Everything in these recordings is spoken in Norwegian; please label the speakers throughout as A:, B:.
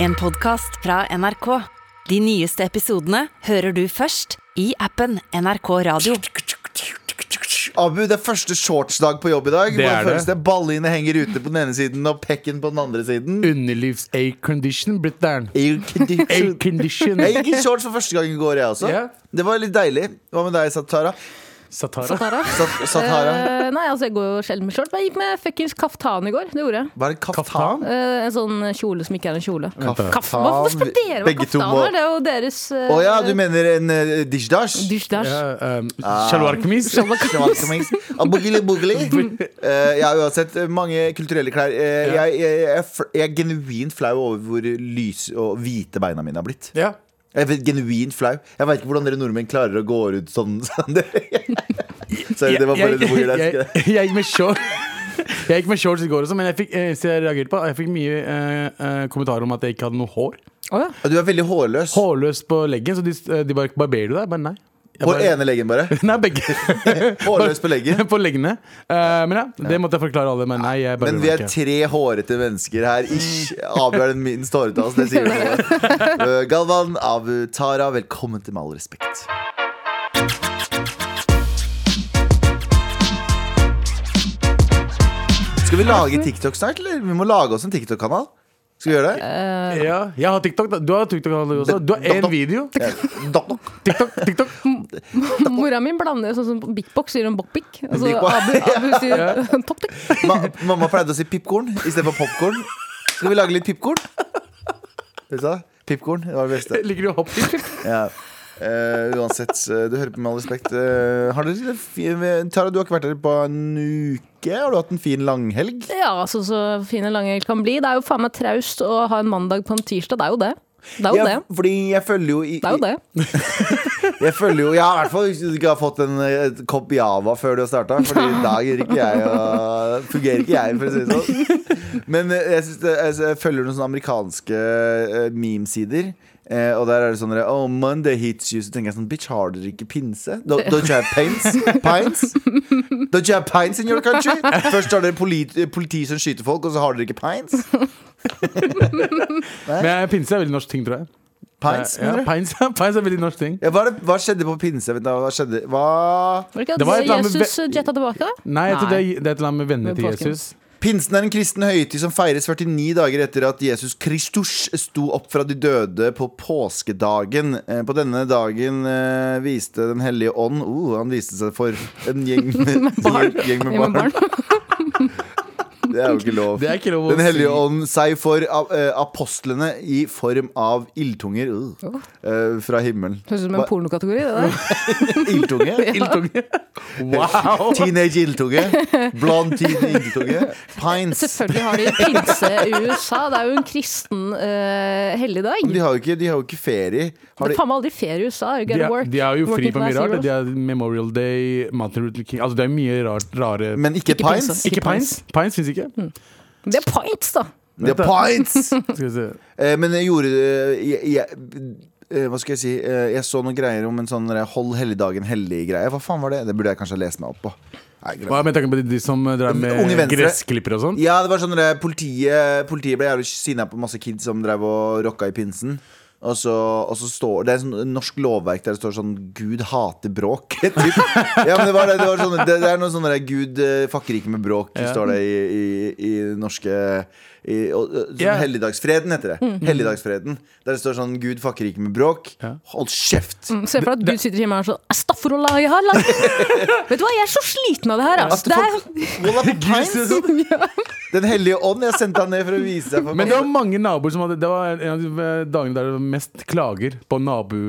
A: En podcast fra NRK. De nyeste episodene hører du først i appen NRK Radio.
B: Abu, det er første shortsdag på jobb i dag.
C: Det
B: Hvordan
C: er det.
B: føles det? Ballene henger ute på den ene siden og pekken på den andre siden.
C: Underlivs aircondition, Britter'n.
B: Jeg gikk
C: Aircondition.
B: i shorts for første gang i går, jeg også.
C: Ja.
B: Det var litt deilig. Hva med deg, Satara?
C: Satara.
B: Sat Satara?
D: Eh, nei, altså jeg går jo sjelden med shorts. Men jeg gikk med fuckings kaftan i går. Det gjorde jeg.
B: Hva er det? Kaftan?
C: Kaftan?
D: Eh, en sånn kjole som ikke er en kjole.
B: Kaftan.
D: Hvorfor skal dere med
B: Begge to må
D: kaftaner? Det er jo deres uh,
B: Å ja, du mener en uh, dishdash?
D: dusj-dash.
C: Ja, um,
B: Ah.
C: Shalwar-kamis.
B: Boogly boogly. Eh, Jeg har uansett mange kulturelle klær. Eh,
C: Ja.
B: Jeg, jeg, jeg, er fl- jeg er genuint flau over hvor lyse og hvite beina mine har blitt.
C: Ja.
B: Jeg er genuint flau. Jeg veit ikke hvordan dere nordmenn klarer å gå rundt sånn. sånn. Sorry, det var bare
C: jeg,
B: en humor, jeg
C: jeg,
B: elsker det.
C: jeg, jeg gikk med shorts. Jeg gikk med shorts i går også, men jeg fikk, eh, så jeg reagerte på Jeg fikk mye eh, eh, kommentarer om at jeg ikke hadde noe hår.
D: Å ja.
B: Du er veldig hårløs.
C: Hårløs på leggen, så de, eh, de bare Barberer du deg? Jeg Bare nei. Jeg
B: På
C: bare-
B: ene leggen, bare.
C: Nei, begge.
B: Hårløs på leggen.
C: på leggene. Eh, men ja, det måtte jeg forklare alle. Men nei, jeg
B: Men
C: barberer
B: vi
C: meg
B: er
C: ikke.
B: tre hårete mennesker her. Ish. Abu er den minst hårete av oss. Det sier noe. Uh, Galvan, Abu, Tara, velkommen til Med all respekt. Skal vi lage TikTok snart, eller? Vi må lage oss en TikTok-kanal. Skal vi gjøre det?
C: Ja, jeg har TikTok. da. Du har TikTok også. Du har
B: Dok,
C: én
B: dok.
C: video.
B: Ja. Dok, dok.
C: TikTok, TikTok.
D: Mora mi blander jo sånn som Bikbok sier hun bokbik. Og så
B: Bik Bok.
D: Abu, Abu sier topp-tikk.
B: Ma mamma pleide å si pipkorn istedenfor popkorn. Skal vi lage litt pipkorn? Vet du hva? Pipkorn det var det beste.
C: Ligger du og hopper?
B: Ja. Eh, uansett, eh, du hører på med all respekt. Eh, har dere fi- eh, Tara, du har ikke vært her på en uke. Har du hatt en fin langhelg?
D: Ja, altså så fine lange helg kan bli. Det er jo faen meg traust å ha en mandag på en tirsdag. Det er jo det. Det er jo det.
B: Ja, fordi jeg følger jo i,
D: Det er jo det.
B: Jeg følger jo Jeg har i hvert fall ikke har fått en et kopp Java før du har starta. Fordi i dag gir ikke jeg å- fungerer ikke jeg, for å si det sånn. Men eh, jeg, synes det, jeg, jeg følger noen sånne amerikanske eh, memesider. Eh, og der er det sånn der, Oh, Monday hits you. Så tenker jeg sånn Bitch, har dere ikke pinse? Don't, don't you have pines? pines? Don't you have pines in your country? Først har dere polit, politi som skyter folk, og så har dere ikke pines?
C: Men pinse er veldig norsk ting, tror jeg. Eh,
B: Pines,
C: ja,
B: mener du?
C: pines, pines er veldig norsk ting.
B: Ja, hva, er det, hva skjedde på pinse? Vent da, Hva skjedde? Hva
D: Var det ikke
C: Det var et eller
D: at
C: annet med-
D: Jesus jetta tilbake? da?
C: Nei, jeg tror det, er- det er et eller annet med vennene
D: Med
C: til
D: påsken.
C: Jesus.
B: Pinsen er en kristen høytid som feires 49 dager etter at Jesus Kristus sto opp fra de døde på påskedagen. Eh, På denne dagen eh, viste Den hellige ånd oh, Han viste seg for en gjeng med,
D: barn.
B: Gjeng med
D: Ja, men
B: barn.
D: barn.
B: Det er jo ikke lov.
C: Det er ikke lov å
B: Den hellige
C: si.
B: ånd seg for eh, apostlene i form av ildtunger uh, eh, fra himmelen.
D: Høres ut som en
B: Hva-
D: pornokategori, det der.
B: Ildtunge?
C: Ildtunge. Wow!
B: Teenage ildtunge. Blond teen ildtunge. Pines.
D: Selvfølgelig har de pinse i USA. Det er jo en kristen uh, helligdag.
B: De
D: Det
B: har jo ikke, de har jo ikke ferie. Har
D: er
B: de,
D: faen meg aldri ferie i USA. You
C: De,
D: gotta
C: er-
D: work.
C: de er jo fri
D: Working
C: på mye
D: class
C: rart.
D: heroes.
C: De er Memorial Day, Martin Luther King Altså, det er mye rart, rare
B: men ikke,
D: Ikke pinse.
B: pines.
C: Ikke
D: Ikke
C: pines. Pines fins ikke.
D: Det er pints, da!
B: Det er pints!
C: Skal vi se.
B: Eh, Men jeg gjorde eh, jeg, jeg, eh, Hva skal jeg si? Eh, Jeg så noen greier om en sånn der Hold helligdagen hellig-greie. Hva faen var det? Det burde jeg kanskje ha lest meg opp på. Nei, glem
C: Hva med tanke på de, de som dreier
B: Unge
C: med
B: Venstre.
C: gressklipper og sånn?
B: det. Ja, det var sånn der politiet, politiet ble jævlig sinna på masse kids som drev og rocka i pinsen. Og så, og så står Det er sånn norsk lovverk der det står sånn 'Gud hater bråk'. typ. ja, men det, var det, det, var sånn, det, det er noe sånn der 'Gud eh, fucker ikke med bråk',
C: Ja.
B: står det i, i, i den norske i, og, og- sånn
C: Ja. Mm.
B: Helligdagsfreden heter det. Helligdagsfreden. Der det står sånn 'Gud fucker ikke med bråk'.
C: Ja.
B: Hold kjeft!
D: Mm, Se for deg at Gud sitter hjemme her og sånn Astafrollah, jeg har lagt Vet du hva, jeg er så sliten av det her,
B: At du
D: altså. Det
B: får-
D: er,
B: Wallah, på Pines. Den hellige ånd. Jeg sendte han ned for å vise seg. For
C: Men det var mange naboer som hadde Det var en av de eh, dagene der det var mest klager på nabo,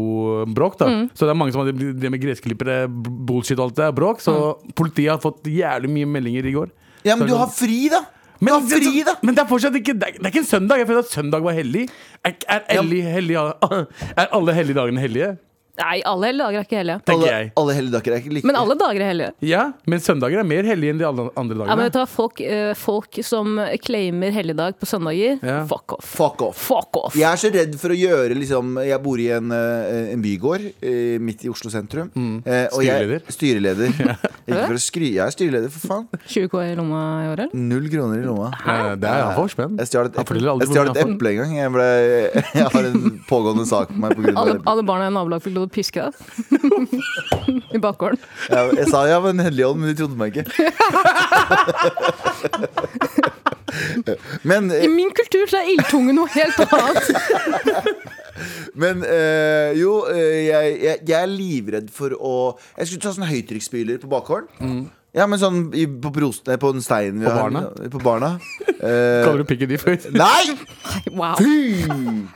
C: nabobråk. da
D: Mm.
C: Så det er mange som hadde det med gressklippere, bullshit og alt det der, bråk. Så
D: Mm.
C: politiet har fått jævlig mye meldinger i går.
B: ja, men
C: Så
B: du
C: sånn-
B: har fri, da! Du har
C: men,
B: fri, da!
C: men det er fortsatt ikke Det er, det er ikke en søndag. Jeg føler at søndag var hellig. Er, er, hellig, hellig er alle helligdagene hellige?
D: Nei, alle hellige dager er ikke hellige.
C: tenker
B: Alle,
C: jeg.
B: alle helligdager er ikke like
D: Men alle dager er hellige.
C: Ja, men søndager er mer hellige enn de alle andre
D: Ja,
C: dagene.
D: men vet du hva, folk, eh, folk som claimer helligdag på søndager,
C: Ja.
D: fuck off.
B: Fuck off.
D: Fuck off!
B: Jeg er så redd for å gjøre liksom Jeg bor i en, eh, en bygård eh, midt i Oslo sentrum.
C: Mm.
B: Eh, og jeg- Styreleder. Ikke for å skry, jeg er styreleder, for faen.
D: 20 K i lomma i året, eller?
B: Null kroner i lomma.
C: Eh, Det er iallfall spenn.
B: Jeg stjal et,
C: Han forteller
B: eple-
C: aldri
B: jeg stjal et
C: hvor han
B: eple en gang. Jeg, ble, jeg har en pågående sak på meg på grunn av
D: Alle,
B: det.
D: alle barna i nabolaget ville piske deg. I bakgården.
B: Jeg, jeg sa ja, men Helligånd, men de trodde meg ikke. Men, eh,
D: I min kultur så er ildtunge noe helt annet.
B: men eh, jo, eh, jeg, jeg, jeg er livredd for å Jeg skulle ta sånn høytrykksspyler på bakgården. Ja, men sånn i, på, prost, nei, på den steinen vi
C: På
B: har.
C: barna?
B: På barna. Eh,
C: Kaller du pikken de før?
B: nei!
D: Wow,
B: Fy!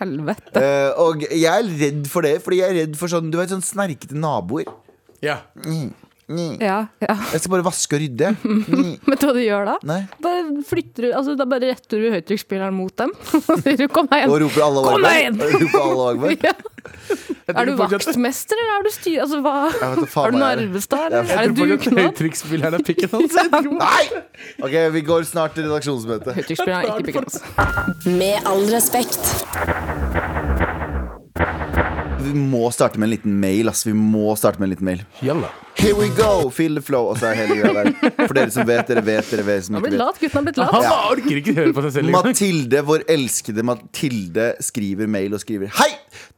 D: helvete.
B: Eh, og jeg er redd for det, fordi jeg er redd for sånn, du vet, sånn snerkete naboer.
C: Ja.
D: Ja, ja.
B: Jeg skal bare vaske og rydde.
D: Vet du hva du gjør da?
B: Nei.
D: Bare flytter du, altså Da bare retter du høytrykksspilleren mot dem. Og sier du 'kom deg
B: Og
D: hjem'.
B: roper alle
D: Kom
B: Agberg.
D: deg
B: Roper alle Agberg.
D: Ja.
C: Jeg
D: Er du
C: tror faktisk at-
D: vaktmester, eller er du styr... Altså, hva?
B: Jeg vet da faen
D: Er
B: hva jeg
D: du
B: er.
D: Narvestad,
C: Jeg
D: eller?
C: tror
D: Er det
C: faktisk at
D: dugnad?
C: høytrykksspilleren er pikken hans.
B: Nei! Ok, vi går snart til redaksjonsmøte.
D: Høytrykksspilleren er ikke altså. pikken hans.
A: Med all respekt.
B: Vi må starte med en liten mail, ass. Vi må starte med en liten mail.
C: Jalla.
B: Here we go! Feel the flow. Og så er hele greia der. For dere som vet, dere vet, dere vet. Som
D: Han
B: ikke
D: har blitt
B: vet.
D: lat. Gutten har blitt lat.
C: Han orker ikke høre på seg selv engang.
B: Mathilde, vår elskede Mathilde, skriver mail og skriver Hei!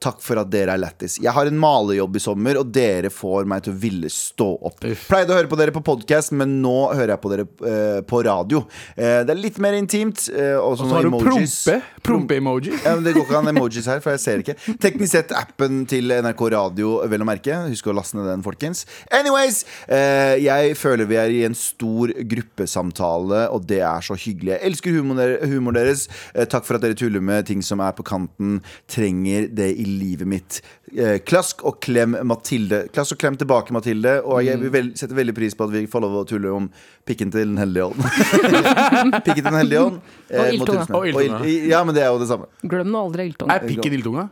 B: Takk for at dere er lættis. Jeg har en malejobb i sommer, og dere får meg til å ville stå opp.
C: Uff.
B: Pleide å høre på dere på podkast, men nå hører jeg på dere eh, på radio. Eh, det er litt mer intimt. eh, og så
C: Så har
B: noen
C: du
B: emojis.
C: prompe. Prompe-emoji.
B: Ja, men Det går ikke an emojis her, for jeg ser ikke. Teknisk sett appen til NRK Radio, vel å merke. Husk å laste ned den, folkens. Anyways, eh, jeg føler vi er i en stor gruppesamtale, og det er så hyggelig. Jeg elsker humoren humor deres. Eh, takk for at dere tuller med ting som er på kanten. Trenger det i livet mitt. Eh, klask og klem, Mathilde. Klask og klem tilbake, Mathilde. Og jeg vil vel, setter veldig pris på at vi får lov å tulle om pikken til Den hellige ånd. pikken til Den eh, hellige ånd.
D: Og
B: mot
D: ildtunga.
B: tusenene.
C: Og ildtunga.
B: Og ild- ja, men det er jo det samme.
D: Glem nå aldri ildtunge.
C: Er pikken ildtunga?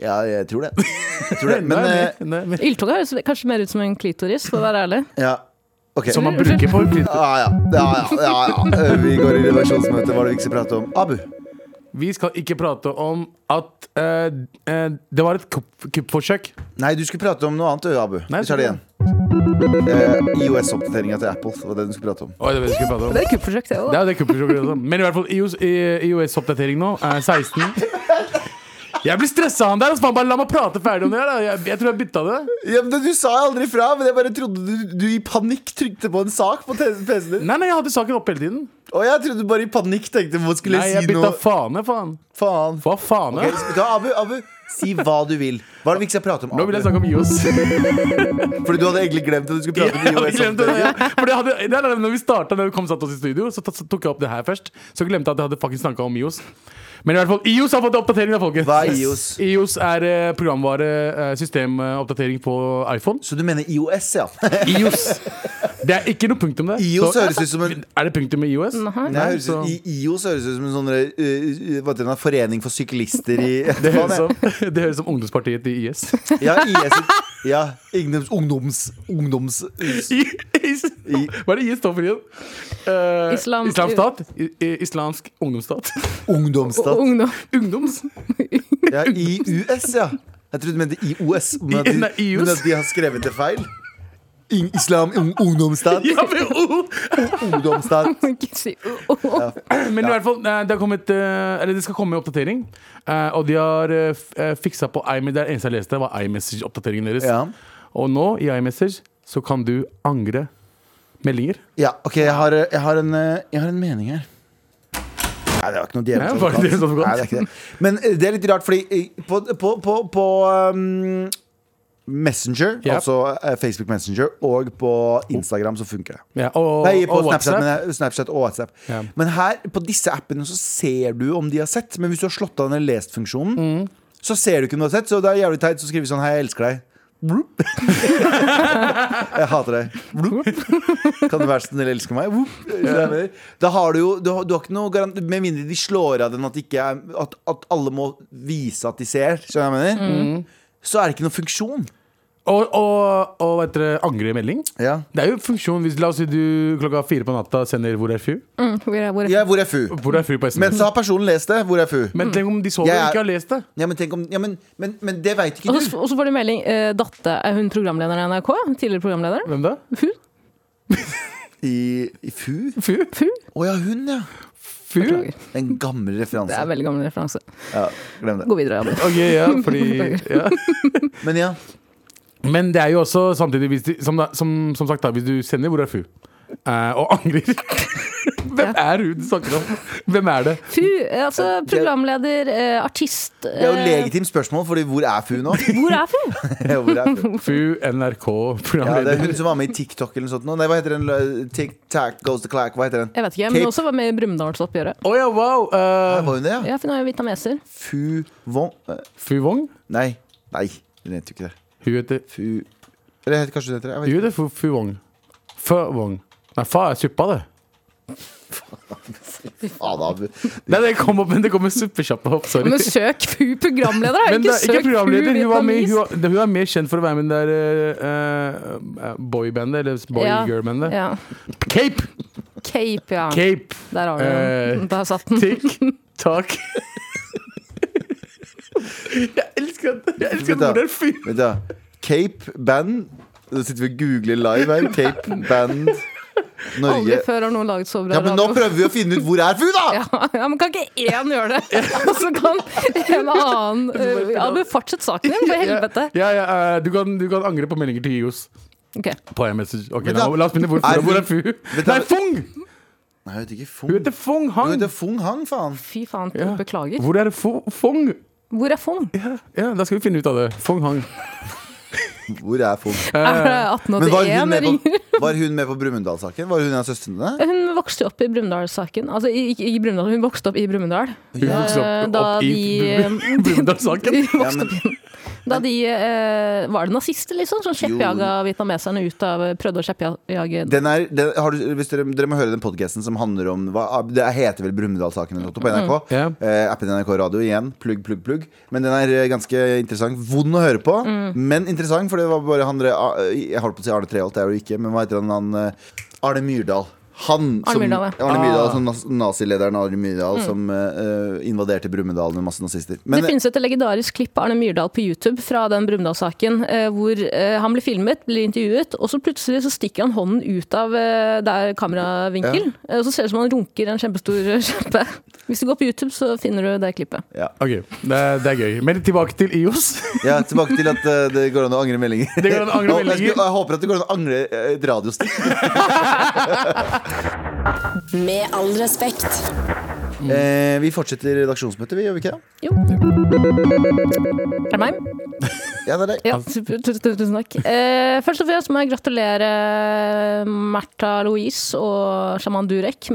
B: Ja, jeg tror det. Jeg tror det. Men
C: Nei,
B: eh,
C: nei, nei.
D: Ildtunge høres kanskje mer ut som en klitoris, for å være ærlig.
B: ja. Ok.
C: Som man bruker på
B: Ja ja. ja, ja, ja, ja. Eh, Vi går i redaksjonsmøte. Hva er det vi ikke skal prate om? Abu.
C: Vi skal ikke prate om at eh, eh, det var et kupp- kuppforsøk.
B: Nei, du skulle prate om noe annet, du, Abu.
C: Nei,
B: Vi tar det igjen. Eh, IOS-oppdateringa til Apple. Det var det du skulle prate om.
C: Oi, det, var det, vi skulle prate om.
D: Det er kuppforsøk, det
C: det
D: òg.
C: er jo det kuppforsøket også. Men i hvert fall IOS i- IOS-oppdatering nå er 16. Jeg blir stressa han der. Altså, faen, bare la meg prate ferdig om det. her, Da. Jeg, jeg tror jeg bytta det.
B: Ja, men Du sa aldri fra, men jeg bare trodde du, du i panikk trykte på en sak på PC-en din.
C: Nei, nei, jeg hadde saken oppe hele tiden.
B: Og jeg trodde du bare i panikk tenkte hva skulle
C: Nei,
B: jeg
C: jeg
B: si nå?
C: bytta fane, faen.
B: Faen.
C: Hva faen?
B: Ok, så- da, Abu, Abu, si hva du vil. Hva er det vi ikke skal prate om?
C: Nå vil jeg
B: Abu?
C: snakke om IOS.
B: Fordi du hadde egentlig glemt at du skulle prate om
C: Ja, vi glemte det,
B: IOS-oppdateringa.
C: ja. For det hadde, nei, nei, når vi startet, når vi kom og satt oss i studio, så, ta- så tok jeg opp det her først. Så glemte jeg at jeg hadde faktisk snakket om IOS. Men i hvert fall, IOS har fått oppdatering av folket.
B: Hva er IOS?
C: IOS er eh, programvare, eh, systemoppdatering på iPhone.
B: Så du mener IOS, ja?
C: IOS. Det er ikke noe punktum der.
B: IOS
C: Så-
B: høres ut som en
C: er det punktum i IOS?
D: Nei.
B: Nei, høres
C: så-
B: ut, I IOS høres ut som en sånn eh, eh, hva heter det, en forening for syklister i
C: Det
B: Hva
C: høres,
B: er det?
C: som, det høres som ungdomspartiet til IS.
B: Ja, IS Ja, ungdoms... Ungdoms... ungdoms
C: IS. Hva er det IS står for igjen? Eh,
D: Islam-
C: Islamsk stat? I- i- Islamsk ungdomsstat?
B: ungdomsstat.
D: Ungdom.
C: Ungdoms?
B: Ja, IUS, ja. Jeg trodde du mente IOS, men at de,
C: Nei, IOS.
B: men at de har skrevet det feil. In, islam ung, ungdomsstat.
C: Ja, men, oh.
B: Ungdomsstat.
D: Ikke si oh, oh.
C: Men i hvert fall, eh, det, har kommet, eh, eller det skal komme oppdatering. eh, Og de har eh, f- eh, fiksa på iMe- Det eneste jeg leste, var iMessage-oppdateringen deres.
B: Ja.
C: Og nå, i iMessage, så kan du angre meldinger.
B: ja, OK, jeg har, eh, jeg, har en, eh, jeg har en mening her. Nei, det var ikke noe
C: Nei, det var ikke
B: djevelsk
C: djevelsk advokat.
B: Nei, det er ikke det. Men eh, det er litt rart, fordi eh, på, på, på, på um, Messenger,
C: Ja.
B: altså eh, Facebook Messenger, og på Instagram så funker det.
C: Ja, og,
B: Nei, på
C: og
B: Snapchat,
C: WhatsApp.
B: men, Snapchat og WhatsApp.
C: Ja.
B: Men her, på disse appene, så ser du om de har sett. Men hvis du har slått av den lest-funksjonen,
C: Mm.
B: så ser du ikke om du har sett. Så det er jævlig teit. Så skriver vi sånn Hei, jeg elsker deg. Bloop. jeg hater deg. Bloop. Kan du være så snill å elske meg? Bloop. Skjønner du? Da har du jo du har, du har ikke noe garant Med mindre de slår av den at, det ikke
C: Mm.
B: er, at, at alle må vise at de ser, skjønner du hva jeg mener? Så er det ikke noen funksjon.
C: Og, og, og hva heter det, angre melding.
B: Ja.
C: Det er jo funksjon hvis La oss si du klokka fire på natta sender 'Hvor er fyr?'
D: Mm, hvor er, hvor er.
B: ja, hvor er FU?
C: Hvor er fyr på
B: Men
C: SMS.
B: så har personen lest det. Hvor er FU?
C: Men tenk om de sover
B: Jeg
C: og
B: er-
C: ikke har lest det.
B: Ja, men, tenk om, ja, men, men, men det veit ikke
D: Og
B: du.
D: så, og så får du melding eh, Datte, er hun programleder i NRK? Tidligere programleder?
C: Hvem da?
D: Hun?
B: I, i FU? Å
C: Fyr?
D: Hun?
B: ja, hun, ja.
C: Fyr?
D: Beklager.
B: En gammel
D: Det
B: referanse.
D: er veldig gammel referanse.
B: Ja, glem det.
D: Gå videre. Adrian.
C: Ok, ja, fordi ja.
B: Men ja.
C: Men det er jo også samtidig hvis du, som, da, som, som sagt da, hvis du sender 'Hvor er fyr?' eh, og angrer Hvem er hun du snakker om? Hvem er det?
D: Fu, eh, altså programleder, eh, artist
B: Det er jo
D: eh,
B: legitimt spørsmål, Fordi hvor er FU nå?
D: Hvor er Fu?
B: Ja, hvor er FU?
C: Fu NRK
B: Ja, det er
C: programleder.
B: hun som var med i TikTok eller noe sånt. nå. Nei, hva heter den? Tic Tac Goes to Clack. Hva heter den?
D: Jeg vet ikke, men
B: Kate-
D: også var med i Brumunddalsoppgjøret.
C: Å ja, wow!
B: Nei,
C: eh,
B: Var hun det, ja?
D: Ja, for nå er jeg vietnameser.
B: Fu Wong eh,
C: Fu Wong?
B: Nei. Nei, hun heter jo ikke det.
C: Hun heter
B: Fu Eller heter, kanskje hun heter det? Jeg vet
C: Hun heter Fu, Fu Wong. Fø Wong. Nei, fa er suppa, det.
B: ikke. Faen, Ah, da.
C: Nei, det kom opp, men det kom en suppesjappe opp. Sorry.
D: Men søk Fu programleder, da!
C: Men det
D: Ikke
C: er
D: søk
C: ikke
D: Fu
C: programleder. Hun, var med,
D: vietnames.
C: hun, var, det- hun er mer kjent for å være med i det der uh, boybandet, eller
D: Ja.
C: boygirlbandet.
D: Ja.
C: Cape!
D: Cape, ja.
C: Cape!
D: Der har du
C: Eh,
D: den. Der satt den.
C: Tick, tack. Jeg elsker at Jeg elsker at
B: Vent da.
C: hvor er fyr.
B: Vet du, hva? Cape Band Nå sitter vi og googler live her. Cape Band
D: Aldri
B: Norge.
D: før har noen laget så bra
B: Ja, men nå prøver vi å finne ut hvor er FU, da!
D: Ja, ja, men kan ikke én gjøre det? Og så kan en annen eh, Ja, men fortsett saken din, for helvete.
C: Ja, ja, ja, eh, du, kan, du kan angre på meldinger til IOS
D: Ok.
C: på iMessage. Ok,
B: Men
C: la,
B: da-
C: la oss begynne. Hvor,
B: Er
C: hvor,
B: hun-
C: er Fu?
B: Men da-
C: Nei, Fung!
B: Nei, hun heter ikke Fung.
C: Hun heter Fung
B: Hun
C: Hang.
B: heter Fung Hang, faen.
D: Fy faen,
C: Ja.
D: beklager.
C: Hvor er Fu- Fung?
D: Hvor er Fong?
C: Ja, ja, da skal vi finne ut av det. Fung Hang.
B: Hvor er Fung?
D: Er det
B: Men var hun
D: 1881
B: med
D: ringer?
B: på, var hun med på Brumunddal-saken? Var hun en av søstrene? dine?
D: Hun vokste jo opp i Brumunddal-saken. Altså, i, i, i Brumunddal. Hun vokste opp i Brumunddal.
C: Hun vokste
D: Eh,
C: opp,
D: da
C: opp i
D: de- eh,
C: Brumunddal-saken.
D: De
B: Ja,
D: vokste
B: men,
D: opp Da de eh, Var det nazister, liksom? Som kjeppjaga vietnameserne ut av Prøvde å kjeppjage
B: den er, den, har du, hvis dere, dere må høre den podkasten som handler om hva, Det heter vel Brumunddal-saken eller noe sånt på NRK.
C: Mm. Ja.
B: Eh, appen NRK Radio igjen. Plugg, plugg, plugg. Men den er eh, ganske interessant. Vond å høre på,
C: Mm.
B: men interessant, for det var bare han dere- ah, Jeg holdt på å si Arne Treholt, det er det jo ikke, men hva heter han? han eh, Arne Myrdal. Han
D: Arne
B: som,
D: Myrdal, ja.
B: Arne Myrdal,
C: Ah. Mm.
B: som nas- nazilederen Arne Myrdal som eh, eh, invaderte Brumunddal med masse nazister. Men, eh,
D: det finnes et legendarisk klipp av Arne Myrdal på YouTube fra den Brumunddal-saken, eh, hvor eh, han blir filmet, blir intervjuet, og så plutselig så stikker han hånden ut av eh, der kameravinkel. eh, Og så ser det ut som han runker en kjempestor eh, kjempe. Hvis du går på YouTube, så finner du det klippet.
B: ja.
C: Ok, det er, det er gøy. Men tilbake til IOS.
B: Ja, tilbake til at eh, det går an å angre meldinger.
C: Det går an å angre
B: Og jeg
C: meldinger.
B: skulle- Jeg håper at det går an å angre eh, et radiostikk.
A: Med all respekt.
B: Eh, vi fortsetter redaksjonsmøtet, vi, gjør vi ikke det?
D: Jo. Er det meg?
B: Ja, det er det.
D: Ja, super, tu- tu- tusen takk. Eh, først og fremst må jeg gratulere Märtha Louise og sjaman Durek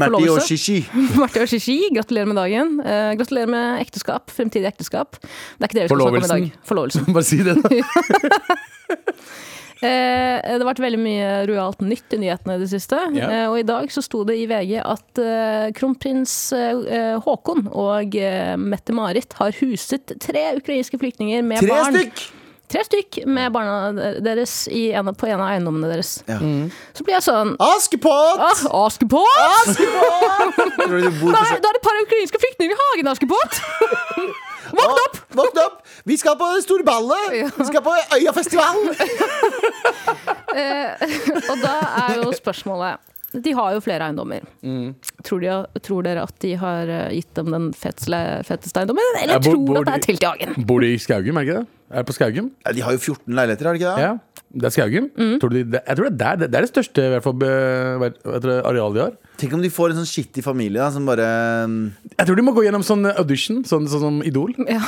B: Merti og
D: forlovelse.
B: Shishi.
D: Märtha og Shishi, gratulerer med dagen. Eh, gratulerer med ekteskap, fremtidig ekteskap. Det er ikke det vi skal snakke om i dag. Forlovelsen.
C: Bare si det. da.
D: Eh, det har vært veldig mye rojalt nytt i nyhetene i det siste.
C: Ja.
D: Eh, og i dag så sto det i VG at eh, kronprins eh, Haakon og eh, Mette-Marit har huset tre ukrainske flyktninger med
B: Tre
D: barn.
B: stykk!
D: tre stykk med barna deres i en, på en av eiendommene deres.
B: Ja.
D: Så blir jeg sånn
B: Askepott!
D: ah, Askepott!
B: Tror du de bor på
D: Da er,
B: sjø-
D: da er det et par ukrainske flyktninger i hagen, Askepott! Våkn opp!
B: Ah, Våkn opp! Vi skal på det store ballet!
D: Ja.
B: Vi skal på Øyafestivalen!
D: Og da er jo spørsmålet De har jo flere eiendommer. Tror, de, tror dere at de har eh, gitt dem den fetsle, feteste eiendommen, eller
C: Ja, bor-
D: tror
C: bor
D: at det er
C: de-
D: telt i hagen?
C: Bor de i Skaugum, er det ikke det? Er det på Skaugum?
B: Ja, de har jo 14 leiligheter, har de ikke det?
C: Ja, det er Skaugum.
D: Mm.
C: Tror du de, det, jeg tror det er der. Det, det er det største i hvert fall, be, hva heter det, arealet de har.
B: Tenk om de får en sånn skittig familie da, som bare mm,
C: Jeg tror de må gå gjennom sånn audition, sånn, sånn som Idol.
D: Ja.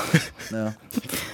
B: Ja.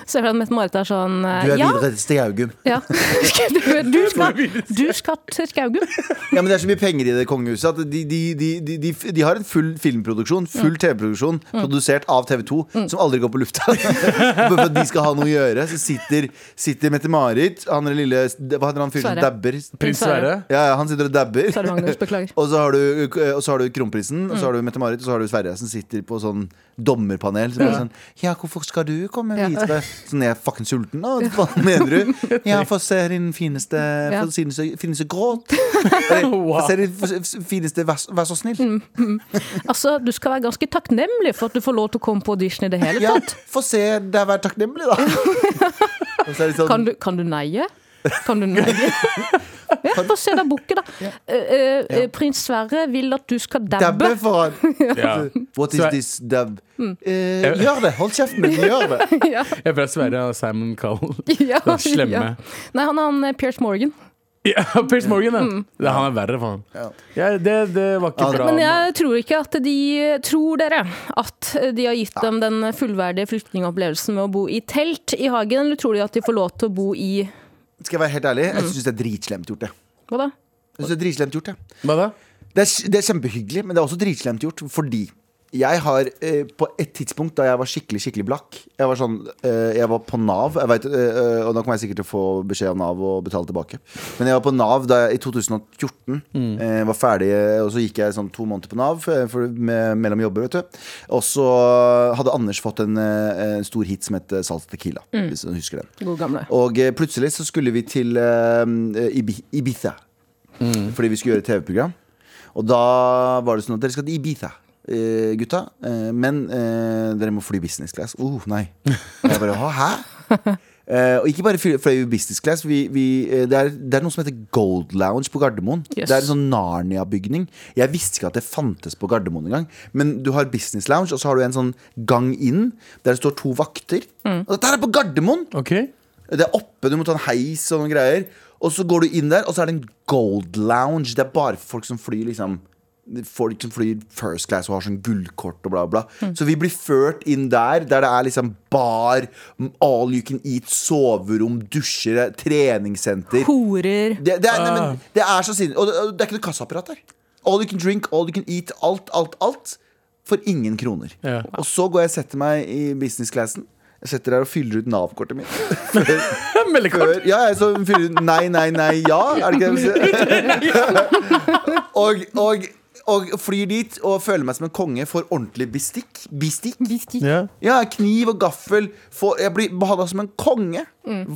D: Ser for deg at Mette-Marit er sånn eh,
B: Du er
D: Ja,
B: videre til Stiaugum.
D: ja. Du, du, skal, du skal til Skaugum.
B: Ja, men det er så mye penger i det kongehuset at de, de, de, de, de, de har en full filmproduksjon, full
D: Mm.
B: TV-produksjon, produsert av TV2, som aldri går på lufta. Bare for at de skal ha noe å gjøre. Så sitter, sitter Mette-Marit, han der lille Hva heter han fyren som
D: Sverre.
B: dabber?
C: Prins Sverre.
B: Ja, ja, han sitter og dabber.
D: Sverre Magnus, beklager.
B: eh,
D: Mm.
B: Og så har du, og så har du kronprinsen, og så har du Mette-Marit, og så har du Sverre, som sitter på sånn dommerpanel som bare sånn Ja, hvorfor skal du komme med hvitbrød? Sånn, jeg er fucking sulten, da. Hva faen mener du? Ja, få se din fineste
D: Ja.
B: Få se din så- fineste gråt. Eller, Få se din f- fineste Vær så- vær så snill.
D: Mm, Altså, Du skal være ganske takknemlig for at du får lov til å komme på audition i det hele
B: Ja,
D: tatt.
B: få se deg være takknemlig, da. Og så er det sånn,
D: Kan du, kan du neie? Kan du neie? Ja, få se deg bukke, da. Eh, eh, Prins Sverre vil at du skal dabbe. Mm.
B: Dabbe foran.
C: Ja.
B: What is
C: Så jeg-
B: this dab? Eh, gjør det! Hold kjeften din, gjør det!
D: Ja,
C: Jeg føler Sverre og Simon Cowell.
D: ja,
C: Den slemme.
D: ja. Nei, han er han eh, Piers Morgan.
C: Ja, Piers Morgan, ja. Det, han er verre, faen.
B: Ja.
C: Ja, det, det var ikke
B: Ja, det-
C: bra.
D: Mm. Men jeg tror ikke at de Tror dere at de har gitt dem den fullverdige flyktningopplevelsen med å bo i telt i hagen, eller tror de at de får lov til å bo i
B: Skal jeg være helt ærlig?
D: Mm.
B: Jeg syns det er dritslemt gjort, det.
D: Hva da?
B: Jeg synes det er dritslemt gjort, det.
C: Hva da?
B: Det er, det er kjempehyggelig, men det er også dritslemt gjort fordi jeg har eh, på et tidspunkt da jeg var skikkelig skikkelig blakk Jeg var sånn, eh, jeg var på Nav, jeg vet, eh, eh, og da kommer jeg sikkert til å få beskjed av Nav og betale tilbake. Men jeg var på Nav da jeg, i 2014. eh, var ferdig, eh, og så gikk jeg sånn to måneder på Nav eh, for, med, mellom jobber. vet du Og så hadde Anders fått en, eh, en stor hit som het eh, Salt Tequila, hvis du husker den.
D: God gamle.
B: Og eh, plutselig så skulle vi til eh, Ibi- Ibiza. Fordi vi skulle gjøre et TV-program. Og da var det sånn at dere skal til Ibiza, eh, gutta. Eh, men eh, dere må fly business class. Oh, nei. Og jeg bare, «Hå, hæ? Eh, og ikke bare fly, fløy vi business class. Vi, vi, eh, det, er, det er noe som heter Gold Lounge på Gardermoen.
D: Yes.
B: Det er en sånn Narnia-bygning. Jeg visste ikke at det fantes på Gardermoen engang. Men du har business lounge, og så har du en sånn gang inn der det står to vakter. Og dette her er på Gardermoen!
C: OK.
B: Det er oppe, du må ta en heis og noen greier. Og så går du inn der, og så er det en gold lounge. Det er bare for folk som flyr liksom Folk som flyr first class og har sånn gullkort og bla, bla. Så vi blir ført inn der, der det er liksom bar, all you can eat, soverom, dusjer, treningssenter.
D: Horer.
B: Det, det, er, nei, men, det er så sinnssykt. Og det, og det er ikke noe kassaapparat der. All you can drink, all you can eat, alt, alt, alt. For ingen kroner.
C: Ja.
B: Og så går jeg og setter meg i business-classen. Jeg setter der og fyller ut Nav-kortet mitt.
C: Meldekort.
B: Før, ja, jeg så fyller ut nei, nei, nei, ja. Er det ikke det de sier? og, og, og flyr dit og føler meg som en konge. Får ordentlig bestikk. Bestikk?
C: Ja.
B: Ja, kniv og gaffel. Får, jeg blir behandla som en konge.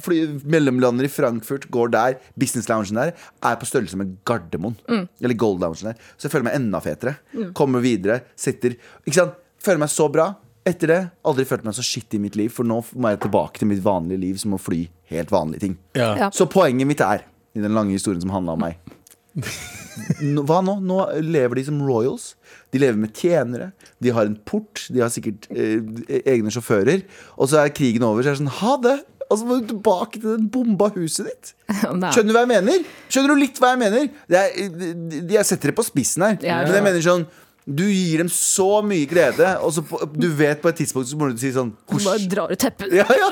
B: Fly, mellomlander i Frankfurt, går der. Business loungen der er på størrelse med Gardermoen. Eller Gold loungen der. Så jeg føler meg enda fetere. Kommer videre, sitter Ikke sant? Føler meg så bra. Etter det, aldri følt meg så skitt i mitt liv, for nå må jeg tilbake til mitt vanlige liv som å fly helt vanlige ting.
C: Ja.
D: Ja.
B: Så poenget mitt er, i den lange historien som handla om meg Nå- Hva nå? Nå lever de som royals. De lever med tjenere. De har en port. De har sikkert eh, egne sjåfører. Og så er krigen over, så er det sånn ha det! Og så må du tilbake til den bomba huset ditt.
D: Nei.
B: Skjønner du hva jeg mener? Skjønner du litt hva jeg mener? Det er, de, de, jeg setter det på spissen her.
D: Ja, ja.
B: Men jeg mener sånn Du gir dem så mye glede, og så på, du vet på et tidspunkt så må du si sånn
D: Bare
B: husj.
D: drar ut teppet.
B: Ja, ja.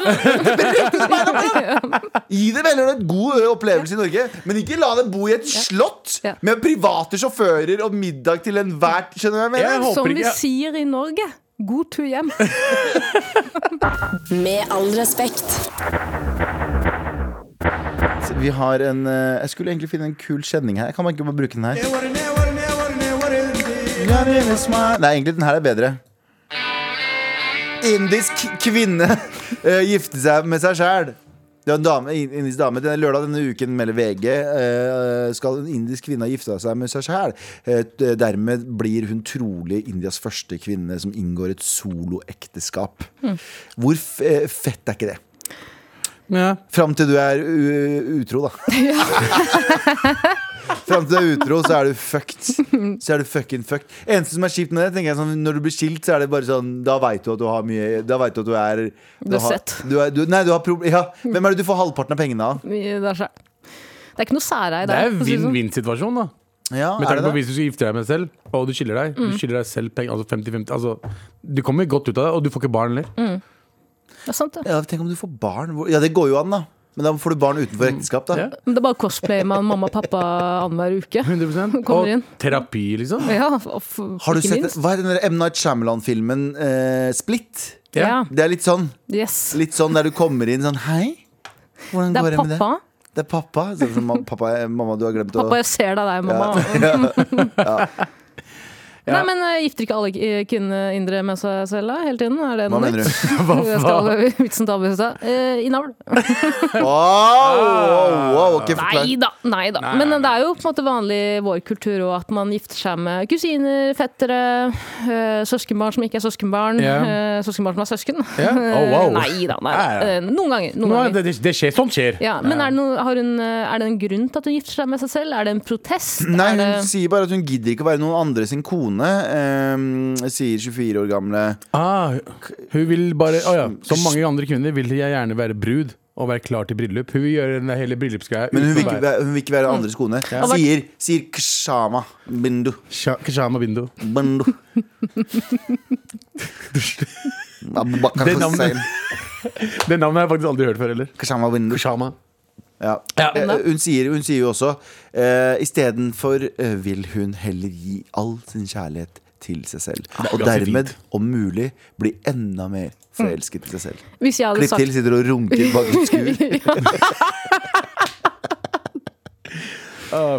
B: Det beriktiger meg, da. Gi dem heller en god ø, opplevelse i Norge, men ikke la dem bo i et slott
D: Ja.
B: med private sjåfører og middag til enhver Skjønner du hva jeg mener?
C: Jeg håper
D: Som vi
C: ikke-
D: sier i Norge, god tur hjem.
A: Med all respekt.
B: Vi har en ø, Jeg skulle egentlig finne en kul kjenning her. Jeg kan man ikke bare bruke den her? Nei, egentlig den her er bedre. Indisk kvinne ø, gifte seg med seg sjæl. Det var en dame, en indisk dame Denne Lørdag denne uken melder VG eh, skal en indisk kvinne ha gifta seg med seg sjæl. Eh, d- dermed blir hun trolig Indias første kvinne som inngår et soloekteskap. Hvor f eh, fett er ikke det?
C: Ja.
B: Fram til du er u utro, da. Fram til du er utro, så er du fucked. Så er du fucking fucked. Eneste som er kjipt med det, tenker jeg sånn når du blir skilt, så er det bare sånn Da veit du at du har mye Da veit du at du er
D: Du er
B: har-
D: sett.
B: Du er, du, nei, du har problem... Ja. Hvem er det du får halvparten av pengene av?
D: Det er så- det er ikke noe særeie
C: Det
D: der.
C: er
D: for å si det sånn.
C: vinn-vinn-situasjon, da.
B: Ja,
C: Med
B: er
C: tanke
B: det
C: på
B: det?
C: hvis du skal gifte deg med deg selv, og du skiller deg.
D: Mm.
C: Du skiller deg selv penger, altså 50-50 altså, Du kommer godt ut av det, og du får ikke barn heller.
D: Det er sant, det.
B: Ja, tenk om du får barn. Hvor- Ja, det går jo an, da. Men da får du barn utenfor ekteskap, da.
C: Mm. Ja.
D: Men det er bare cosplay med mamma og pappa annenhver uke.
C: 100%
D: Kommer inn.
C: Og terapi, liksom.
D: Ja, og f-
B: Har du
D: ikke
B: sett
D: minst.
B: Hva er den der M. Night Shyamalan-filmen eh, Split?
D: Ja.
B: Det er litt sånn.
D: Yes.
B: Litt sånn der du kommer inn sånn Hei, hvordan
D: Det
B: går
D: er
B: det med det?
D: pappa.
B: Det er pappa. Så, så, ma- pappa mamma, du har glemt
D: Pappa,
B: å
D: jeg ser deg der, mamma.
B: ja.
D: Nei, men eh, gifter ikke alle eh, kvinner indre med seg selv da, hele tiden? Er det
B: Hva
D: noe
B: mener
D: nytt?
B: du?
D: Jeg skal vitsen til Abelstad. Eh, I navl.
B: Wow, wow, wow, ok, forklar.
D: Nei da, nei da. Men det er jo på en måte vanlig i vår kultur òg at man gifter seg med kusiner, fettere, eh, søskenbarn som ikke er søskenbarn,
C: Ja.
D: eh, søskenbarn som er søsken.
C: Ja. Oh, wow.
D: Nei da, nei.
C: Ja, ja.
D: Eh, Noen ganger. Noen
C: Nå,
D: ganger.
C: det, det skjer. Sånt skjer.
D: Ja, men er det, noe, har hun, eh, er det en grunn til at hun gifter seg med seg selv? Er det en protest?
B: Nei,
D: er det...
B: hun sier bare at hun gidder ikke å være noen andre sin kone, ehm, sier 24 år gamle.
C: Ah, hun vil bare Å ja. Som mange andre kvinner vil jeg gjerne være brud og være klar til bryllup. Hun vil gjøre den der hele bryllupsgreia.
B: Men hun
C: uten
B: vil
C: å
B: ikke,
C: være-
B: være- hun vil ikke
D: Mm.
B: være andres kone. Sier, sier Kshama Bindu.
C: Sha- Kashama Bindu.
B: Bindu. Abubakar
C: Det navnet-
B: Hussein.
C: Det navnet har jeg faktisk aldri hørt før heller.
B: Kshama Bindu.
C: Kashama.
B: Ja.
C: Ja.
B: Eh, hun, sier, hun sier jo også uh, Istedenfor eh, vil hun heller gi all sin kjærlighet til seg selv. Og
C: ganske
B: dermed,
C: fint.
B: om mulig, bli enda mer forelsket i seg selv.
D: Hvis jeg hadde
B: Klipp til,
D: sagt
B: sitter og runker bak et skur.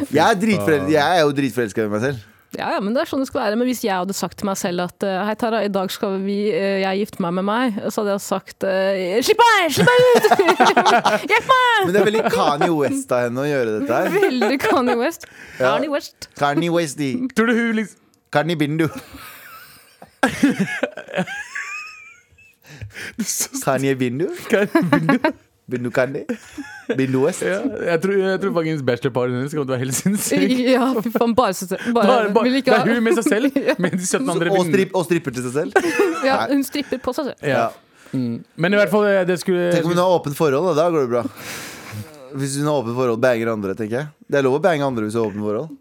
B: Jeg er, dritforel- jeg er jo dritforelska i meg selv.
D: ja, ja, men det er sånn det skal være. Men hvis jeg hadde sagt til meg selv at eh, Hei, Tara, i dag skal vi, eh, jeg gifte meg med meg, så hadde jeg sagt eh, Slipp meg! Slipp meg ut! Hjelp meg!
B: Men det er veldig Kanye West av henne å gjøre dette her.
D: Veldig Kanye West.
B: Ja.
D: Kanye West.
B: Kanye Westy.
C: Tror du hun liksom
B: Kanye Bindu. Kanye Bindu? Bindu Kanye? Bindu West?
C: ja, jeg, tror, jeg tror faktisk bachelorparet hennes kommer til å være helt sinnssykt.
D: Ja, fy faen. Bare søster. Bare,
C: Bare- bare-
D: vil
C: Det
D: ikke
C: er
D: ha.
C: hun med seg selv, med de 17 andre
B: Og,
C: vinnene.
B: stripp, og stripper til seg selv?
D: Ja, hun stripper på seg selv.
B: Ja.
C: Ja. Men i hvert fall, eh, det skulle
B: Tenk om hun har åpent forhold, da. Da går det bra. Hvis hun har åpent forhold, banger andre, tenker jeg. Det er lov å bange andre hvis hun har åpent forhold.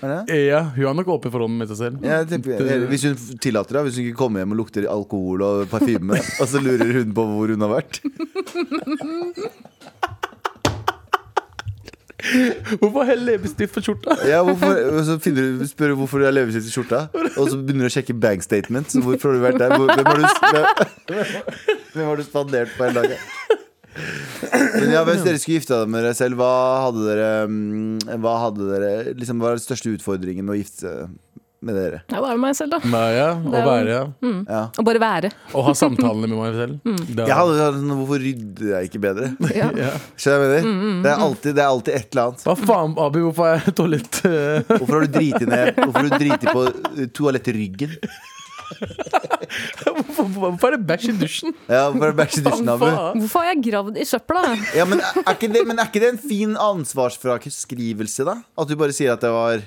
B: Er det?
C: Ja, hun har nok åpen forhold med seg selv.
B: Ja, jeg tenker, eller hvis hun tillater det. Hvis hun ikke kommer hjem og lukter alkohol og parfyme, og så lurer hun på hvor hun har vært.
C: Hvorfor heller leppestift på skjorta?
B: Ja, hvorfor, og så finner du, spør du hvorfor du har leppestift i skjorta, og så begynner du å sjekke bank statement. Så hvorfor har du vært der? Hvor- Hvem har du, hvem- hvem har du spandert på hele dagen? Men ja, Hvis dere skulle gifte dere med dere selv, hva hadde dere, mm, hva hadde dere liksom, Hva er den største utfordringen med å gifte seg med dere?
D: Jeg var meg selv, da.
C: Nei, ja, å være ja.
B: Ja.
D: Og bare være.
C: Og ha samtalene med meg selv. Da-
B: Jeg hadde, sånn, hvorfor rydder jeg ikke bedre?
D: Mm. Ja.
C: ja.
B: Skjønner du hva jeg
C: Mm,
B: mener? Det er alltid, det er alltid et eller annet.
C: Hva faen, Abu, hvorfor er toalett eh,
B: Hvorfor har du driti ned Hvorfor har du driti på eh, toalettryggen?
C: hvorfor, hvorfor er det bæsj i dusjen?
B: Ja, hvorfor har du bæsj i dusjen, Abu?
C: Faen.
D: Hvorfor har jeg gravd i søpla?
B: Ja, men, er ikke det, men er ikke det en fin ansvarsfraskrivelse, da? At du bare sier at det var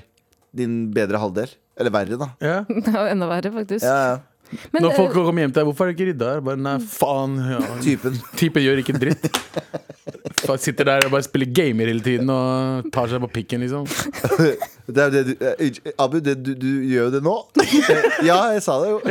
B: din bedre halvdel? Eller verre, da.
C: Ja.
D: Det er jo enda verre, faktisk.
B: Ja, ja.
D: Men
C: Når
D: eh,
C: folk kommer hjem til deg, hvorfor er det ikke rydda her? Bare, nei, faen. Ja.
B: Typen.
C: Typen gjør ikke dritt. Bare sitter der og bare spiller gamer hele tiden og tar seg på pikken, liksom.
B: Det er jo det du, eh, unnskyld, Abu, det, du, du gjør jo det nå. Eh, Ja, jeg sa det jo.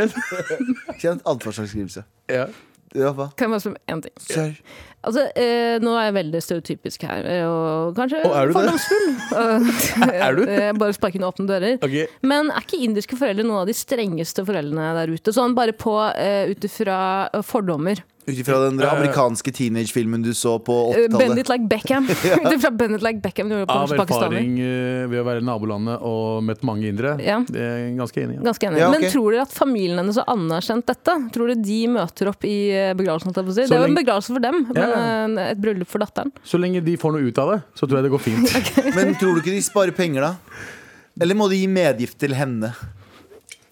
B: Kjent ansvarsfraskrivelse.
C: Ja.
B: Ja, hva?
D: kan jeg bare spørre om én ting?
B: Sir.
D: Altså, eh, nå er jeg veldig stereotypisk her, eh, og kanskje
C: Å, er du det?
D: fordomsfull. Eh,
C: Er du?
D: eh, bare sparker inn åpne dører.
C: Ok.
D: Men er ikke indiske foreldre noen av de strengeste foreldrene der ute? Sånn bare på eh, ut ifra eh, fordommer.
B: Ut ifra den der amerikanske teenagefilmen du så på
D: Eh,
B: 80-tallet.
D: Bend it like Beckham. Ut ifra Bend it like Beckham du gjorde på
C: Av
D: pakistaner.
C: erfaring eh, ved å være i nabolandet og møtt mange indere.
D: Ja.
C: Det er jeg ganske enig i.
D: Ganske enig.
B: Ja, ok.
D: Men tror dere at familien hennes har anerkjent dette? Tror dere de møter opp i eh, begravelsen? holdt jeg på å Si.
C: Så
D: Det er jo en
C: lenge-
D: begravelse for dem,
C: Ja.
D: men eh, et bryllup for datteren.
C: Så lenge de får noe ut av det, så tror jeg det går fint.
B: Men tror du ikke de sparer penger, da? Eller må de gi medgift til henne?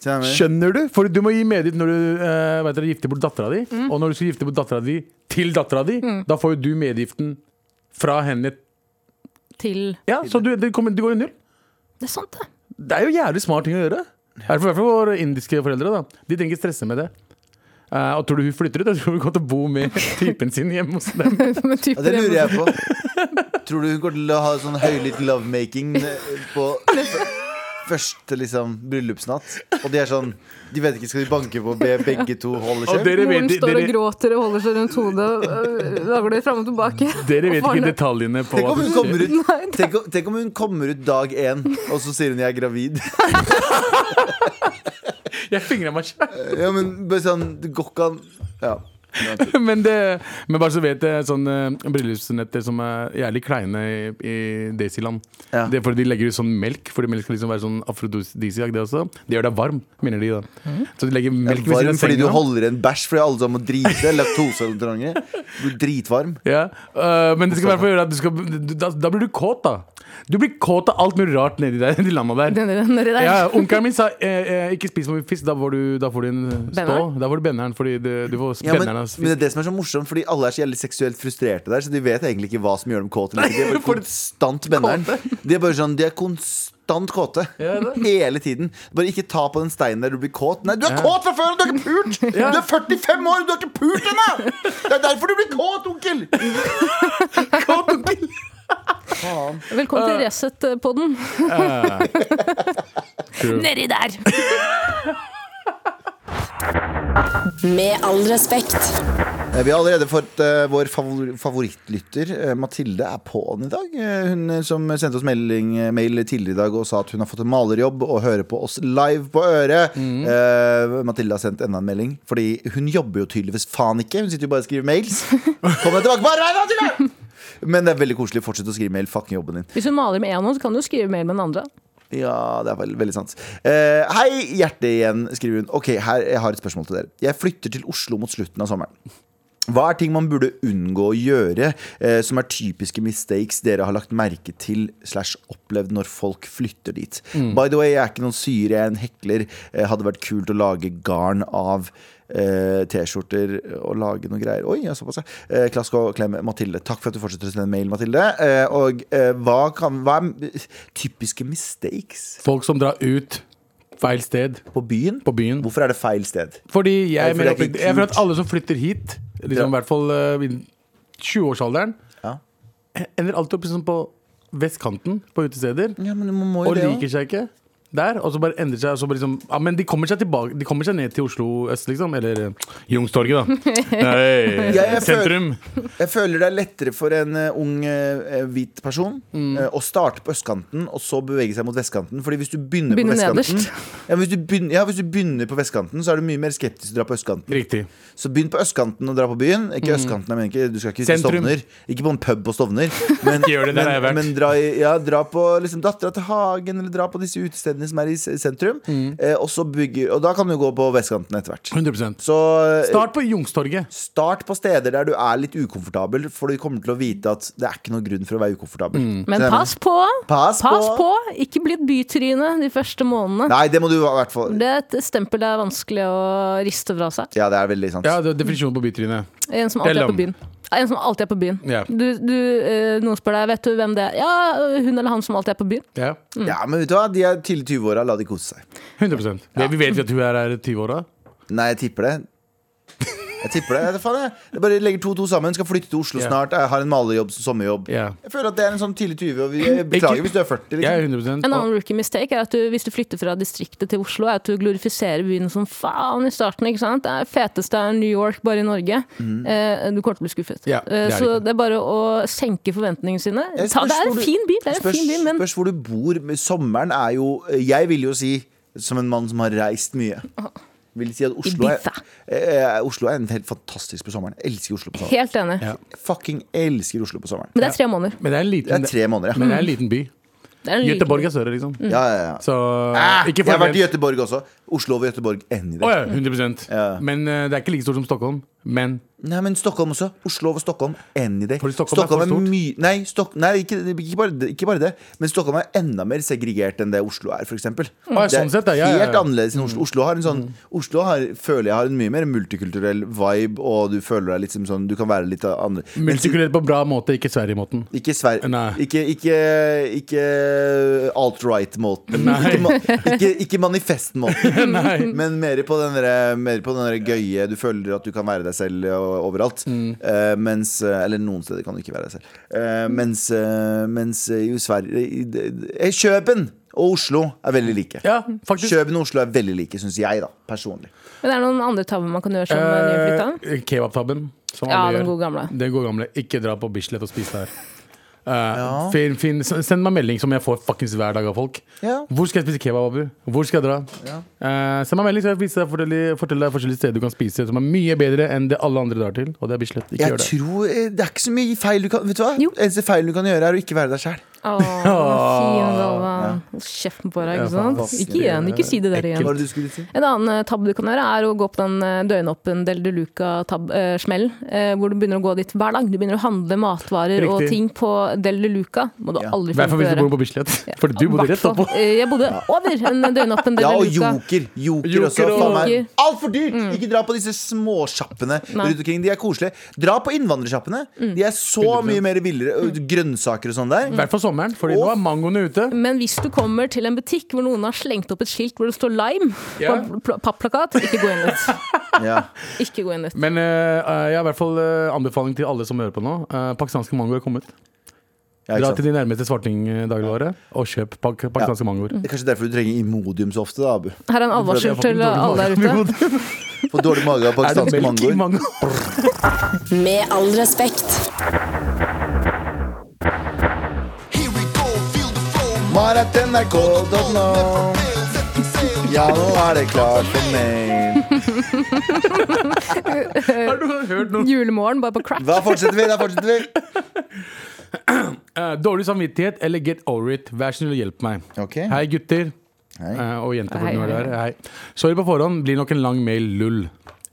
B: Skjønner du? hva jeg mener?
C: Skjønner du? For du må gi medgitt når du eh, vet dere, gifter bort dattera di. Og når du skal gifte bort dattera di til dattera di, da får jo du medgiften fra henne.
D: Til
C: Ja, Så du, det kommer, du går i null.
D: Det er sant, det.
C: Det er jo jævlig smart ting å gjøre. I hvert fall- i hvert fall våre indiske foreldre. da De trenger ikke stresse med det. Eh, og tror du hun flytter ut? Jeg tror hun kommer til å bo med typen sin hjemme hos dem.
D: Men typ
B: Ja, det
D: det-
B: lurer jeg på. Tror du hun går til å ha sånn høylytt lovemaking eh, på f- første liksom, bryllupsnatt? Og de er sånn De vet ikke, skal de banke på og be begge to holde
C: Og
B: kjeft?
C: dere
D: Moren
C: vet,
D: står og
C: dere,
D: gråter og holder seg rundt hodet og øh, vagler fram og tilbake.
C: dere vet
D: Og
C: ikke
D: barnet-
C: detaljene på
B: Tenk
C: hva
B: om
C: som
B: hun
C: skjer.
B: kommer ut
D: Nei, det-
B: Tenk, om- tenk om hun kommer ut dag én, og så sier hun 'jeg er gravid'.
C: Jeg fingrer meg sjæl.
B: Eh, Ja, men bare sånn, det går ikke an ja.
C: men, det, men bare så vet jeg, sånne bryllupsnetter som er jævlig kleine i, i Daisyland
B: Ja.
C: Det er fordi de legger ut sånn melk, fordi melk skal liksom være sånn afrodisiak, det også. Det gjør deg varm, mener de da. Så de legger melk ved
B: Mm. Varm
C: siden av
B: fordi du
C: senga.
B: holder en bæsj fordi alle sammen må drite. Laktoseintolerante. Du blir Dritvarm.
C: Ja, øh, men det skal i hvert fall gjøre at du skal du- da, da blir du kåt, da. Du blir kåt av alt mulig rart nedi der, de landa der.
D: Nedi nedi der.
C: Ja, oh. Onkelen min sa eh, eh, 'ikke spis for mye fisk', da får du, da får du en stå.
D: Benneren?
C: Da får du benneren, fordi du, du får
B: Ja, men,
C: benneren altså. av
B: men det er det som er så morsomt, fordi alle er så jævlig seksuelt frustrerte der, så de vet egentlig ikke hva som gjør dem kåte. eller ikke. De er bare konstant benneren. De er bare sånn, de er konstant kåte. Hele tiden. Bare ikke ta på den steinen der du blir kåt. Nei, du er
C: Ja.
B: kåt fra før, og du er ikke pult!
C: Ja.
B: Du er 45 år, og du har ikke pult ennå! Det er derfor du blir kåt, onkel!
C: Kåt onkel!
B: Faen.
D: Velkommen
C: Ah.
D: til øh, Resett-podden.
A: Nedi der! Med all respekt.
B: Eh, Vi har allerede fått eh, vår favor favorittlytter. eh, Mathilde er på'n i dag. Eh, hun eh, som sendte oss melding, eh, mail tidligere i dag og sa at hun har fått en malerjobb og hører på oss live på øret. Eh, Mathilde har sendt enda en melding, fordi hun jobber jo tydeligvis faen ikke. Hun sitter jo bare og skriver mails. Kom deg tilbake på arbeid, Mathilde! Men det er veldig koselig. Fortsett å skrive mail. Fucking jobben din.
D: Hvis du maler med én hånd, så kan du jo skrive mer med den andre.
B: Ja, det er vel, veldig sant. Eh, hei, hjertet igjen, skriver hun. Ok, her, jeg har et spørsmål til dere. Jeg flytter til Oslo mot slutten av sommeren. Hva er ting man burde unngå å gjøre, eh, som er typiske mistakes dere har lagt merke til slash opplevd når folk flytter dit? By the way, jeg er ikke noen syre, jeg er en hekler. Eh, hadde vært kult å lage garn av eh, T-skjorter og lage noe greier. Oi, ja, såpass, ja. Eh, klask og klem, Mathilde. Takk for at du fortsetter å sende mail, Mathilde. Eh, og eh, hva, kan, hva er typiske mistakes
C: Folk som drar ut feil sted
B: på byen?
C: på byen.
B: Hvorfor er det feil sted?
C: Fordi jeg,
B: Hvorfor er det
C: mener
B: ikke
C: oppriktig- jeg føler at
B: kult?
C: alle som flytter hit, liksom,
B: Ja.
C: i hvert fall eh, i 20-årsalderen,
B: Ja.
C: ender alltid opp liksom, på vestkanten på utesteder
B: Ja, men man må jo
C: og
B: det
C: liker seg ikke der. Og så bare endrer seg. Og så bare liksom, ja, men de kommer seg tilbake De kommer seg ned til Oslo øst, liksom. Eller eh, Youngstorget, da. Nei,
B: jeg føler-
C: sentrum.
B: Jeg føler det er lettere for en eh, ung eh, hvit person
C: Mm.
B: eh, å starte på østkanten og så bevege seg mot vestkanten. Fordi hvis du begynner,
D: Begynner
B: på vestkanten
D: nederst.
B: ja, men hvis, du begynner, ja, hvis du begynner på vestkanten, så er du mye mer skeptisk til å dra på østkanten.
C: Riktig.
B: Så begynn på østkanten og dra på byen. Ikke østkanten, jeg mener ikke, du skal ikke til
C: Mm. Sentrum.
B: Stovner. Ikke på en pub på Stovner. Men,
C: Gjør det, der har jeg vært.
B: men, men dra, i- ja, dra på liksom, Dattera til Hagen, eller dra på disse utestedene som er i s- sentrum.
C: Mm.
B: Eh, og, så bygger, og da kan du gå på vestkanten etter hvert.
C: 100
B: Så eh,
C: Start på Youngstorget.
B: Start på steder der du er litt ukomfortabel, for du kommer til å vite at det er ikke noen grunn for å være ukomfortabel.
C: Mm.
B: Så
D: Men
B: det er-
D: pass på!
B: Pass på.
D: på! Ikke bli et bytryne de første månedene.
B: Nei, det må du i hvert fall
D: Det er et stempel det er vanskelig å riste fra seg.
B: Ja, det er veldig sant.
C: Ja, det er definisjonen på bytryne.
D: En som alltid er
C: Bellum.
D: på byen. Ja, En som alltid er på byen.
C: Ja.
D: Du, du, eh, noen spør deg vet du hvem det er. Ja, hun eller han som alltid er på byen.
C: Ja,
B: Ja, men vet du hva, de er tidlig 20-åra, la de kose seg.
C: 100 Det- Vi vet jo at hun er her i 20-åra.
B: Nei, jeg tipper det. Jeg tipper det. Jeg vet faen, jeg. jeg bare legger to og to sammen, skal flytte til Oslo
C: Ja.
B: snart, jeg har en malerjobb som sommerjobb.
C: Ja.
B: Jeg føler at det er en sånn tidlig 20 og vi- jeg Beklager
C: Ikke-
B: hvis du er 40.
C: Jeg er
B: Liksom.
C: 100
D: En
C: og-
D: annen rookie mistake er at du, hvis du flytter fra distriktet til Oslo, er at du glorifiserer byen som faen i starten. ikke sant? Det er feteste er New York, bare i Norge. Eh, du kommer til å bli skuffet.
C: Mhm. Ja, det er
D: eh,
C: det
D: så
C: ikke.
D: det er bare å senke forventningene sine.
B: Jeg
D: Ta,
B: spørs
D: det
B: hvor
D: er en
B: du-
D: fin by, det er en
B: spørs,
D: fin by, men
B: spørs hvor du bor. Men Sommeren er jo Jeg vil jo si, som en mann som har reist mye vil si at Oslo er,
D: Ibiza.
B: eh, Oslo er en helt fantastisk på sommeren. Jeg elsker Oslo på sommeren.
D: helt enig.
C: Ja.
B: Fucking elsker Oslo på sommeren.
D: Men det Mm. er tre måneder.
C: Men det er en
B: Det
C: liten,
B: er tre måneder, ja.
C: men det er en liten by.
D: Det er en liten
C: Göteborg
D: by.
C: er større, liksom.
D: Mm.
B: ja, ja, ja.
C: Så
B: Ah,
C: ikke
B: jeg har vært i
C: forvent-
B: Göteborg også. Oslo over Göteborg any
C: Å
B: day.
C: ja, 100
B: Ja.
C: Men eh, det er ikke like stort som Stockholm. Men
B: Nei, men Stockholm også. Oslo over Stockholm any day.
C: Fordi Stockholm er for stort.
B: mye Nei, Stock nei ikke, ikke, bare det, ikke bare det. Men Stockholm er enda mer segregert enn det Oslo er, f.eks.
C: ja, sånn sett, ja, ja, ja. Mm.
B: helt annerledes enn Oslo. Oslo har en sånn Oslo har, føler jeg har en mye mer multikulturell vibe, og du føler deg litt som sånn Du kan være litt annerledes. Mens i-
C: multikulturelt på bra måte, ikke Sverige-måten.
B: Ikke, sver
C: Nei.
B: ikke, ikke, ikke alt-right-måten.
C: Nei.
B: Ikke, ma ikke, ikke manifest-måten.
C: Nei.
B: Eh, Men mer på den derre- mer på den derre gøye Du føler at du kan være deg selv og- overalt.
C: Mm.
B: Eh, mens eh, Eller noen steder kan du ikke være deg selv. Eh, mens eh, mens eh, i Sverige i- i- eh, Kjøpen og Oslo er veldig like.
C: Mm. Ja, faktisk.
B: Kjøpen og Oslo er veldig like, syns jeg, da. Personlig.
D: Men det er noen andre tabber man kan gjøre som eh, nyflytta.
C: Eh, Kebabtabben. Som
D: Ja,
C: alle
D: den
C: gjør.
D: gode gamle.
C: Den gode gamle. Ikke dra på Bislett og spise der. Eh, finn, finn, s- send meg melding som jeg får fuckings hver dag av folk.
B: Ja.
C: Hvor skal jeg spise kebab, Abu? Hvor skal jeg dra? Eh, send meg melding, så jeg viser deg forskjellige, forteller deg forskjellige steder du kan spise som er mye bedre enn det alle andre drar til. Og det er Bislett. Ikke
B: Jeg
C: gjør det.
B: tror eh, Det er ikke så mye feil du kan Vet du hva?
D: Jo.
B: Eneste feilen du kan gjøre, er å ikke være deg sjæl.
D: Å, fin Galva. Hold Kjeften på deg,
C: Ja,
D: ikke
C: faen,
D: sant?
B: ass.
D: Ikke igjen, ikke si det der
C: Ekkelt.
B: Hva
D: igjen.
B: var det du skulle si?
D: En annen eh, tabbe du kan gjøre, er å gå på den eh, døgnåpen Del de Luca-smell. eh, hvor du begynner å gå dit hver dag. Du begynner å handle matvarer og
C: Riktig.
D: ting på Del de Luca. Må du
B: Ja.
C: I
D: aldri
C: hvert fall
D: finne på å
C: hvis du
D: gjøre.
C: bor på Bislett. Fordi du bodde rett
D: Hvertfall.
C: oppå.
D: Eh, Jeg bodde over en døgnåpen Del
B: Ja, og
D: de Luca.
B: joker. Joker,
C: Joker
B: også.
C: og-
B: Faen meg.
D: Joker.
B: Altfor dyrt! Ikke dra på disse småsjappene
D: Nei.
B: rundt omkring. De er koselige. Dra på innvandrersjappene. De er så
C: 100%.
B: mye mer billigere. og Grønnsaker og sånn der.
C: I hvert fall sommeren, fordi nå er mangoene ute.
D: Men hvis du kommer til en butikk hvor noen har slengt opp et skilt hvor det står lime
C: Ja.
D: på en pl- papplakat, ikke gå inn dit.
B: Ja.
D: Ikke gå inn dit.
C: Men eh, eh, jeg har i hvert fall eh, anbefaling til alle som hører på nå. Eh, pakistanske mangoer er kommet.
B: Ja, ikke
C: Dra
B: sant?
C: til de nærmeste svartingdagligvare og kjøp pak pakistanske mangoer.
D: Mm.
B: Det er kanskje derfor du trenger Imodium så ofte, da, Abu.
D: Her er en advarsel
C: Jeg
D: til
C: har fått
D: alle
C: en
D: der ute.
C: dårlig
B: Få dårlig mage av
C: mage. Er det
B: pakistanske
C: melk i
B: mangoer.
C: mango?
A: Med all respekt.
B: Maratnrk.no. Ja, nå er det klart for meg.
C: Har du hørt noe?
D: Julemorgen, bare på crack.
B: Da fortsetter vi. Da fortsetter vi.
C: Eh, dårlig samvittighet eller get over it? Vær så snill og hjelp meg.
B: Ok.
C: Hei, gutter.
B: Hei.
C: Eh, og jenter. for
D: Hei,
C: den var
D: hei,
C: der. Hei. Sorry på forhånd. Blir nok en lang mail. Lull.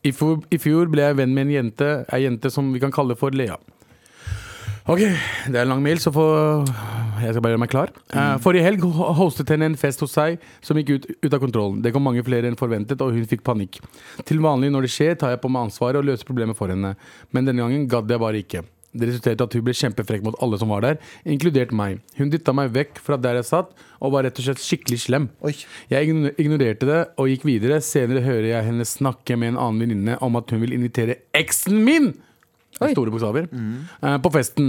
C: I fjor, I fjor ble jeg venn med en jente, ei jente som vi kan kalle for Lea. Ok, det er en lang mail, så får jeg skal bare gjøre meg klar. Eh, forrige helg ho- hostet henne en fest hos seg som gikk ut, ut av kontrollen. Det kom mange flere enn forventet, og hun fikk panikk. Til vanlig når det skjer, tar jeg på meg ansvaret og løser problemet for henne. Men denne gangen gadd jeg bare ikke. Det resulterte i at hun ble kjempefrekk mot alle som var der, inkludert meg. Hun dytta meg vekk fra der jeg satt, og var rett og slett skikkelig slem.
B: Oi.
C: Jeg igno- ignorerte det og gikk videre. Senere hører jeg henne snakke med en annen venninne om at hun vil invitere eksen min! Med Store bokstaver.
B: Mm.
C: eh, på festen.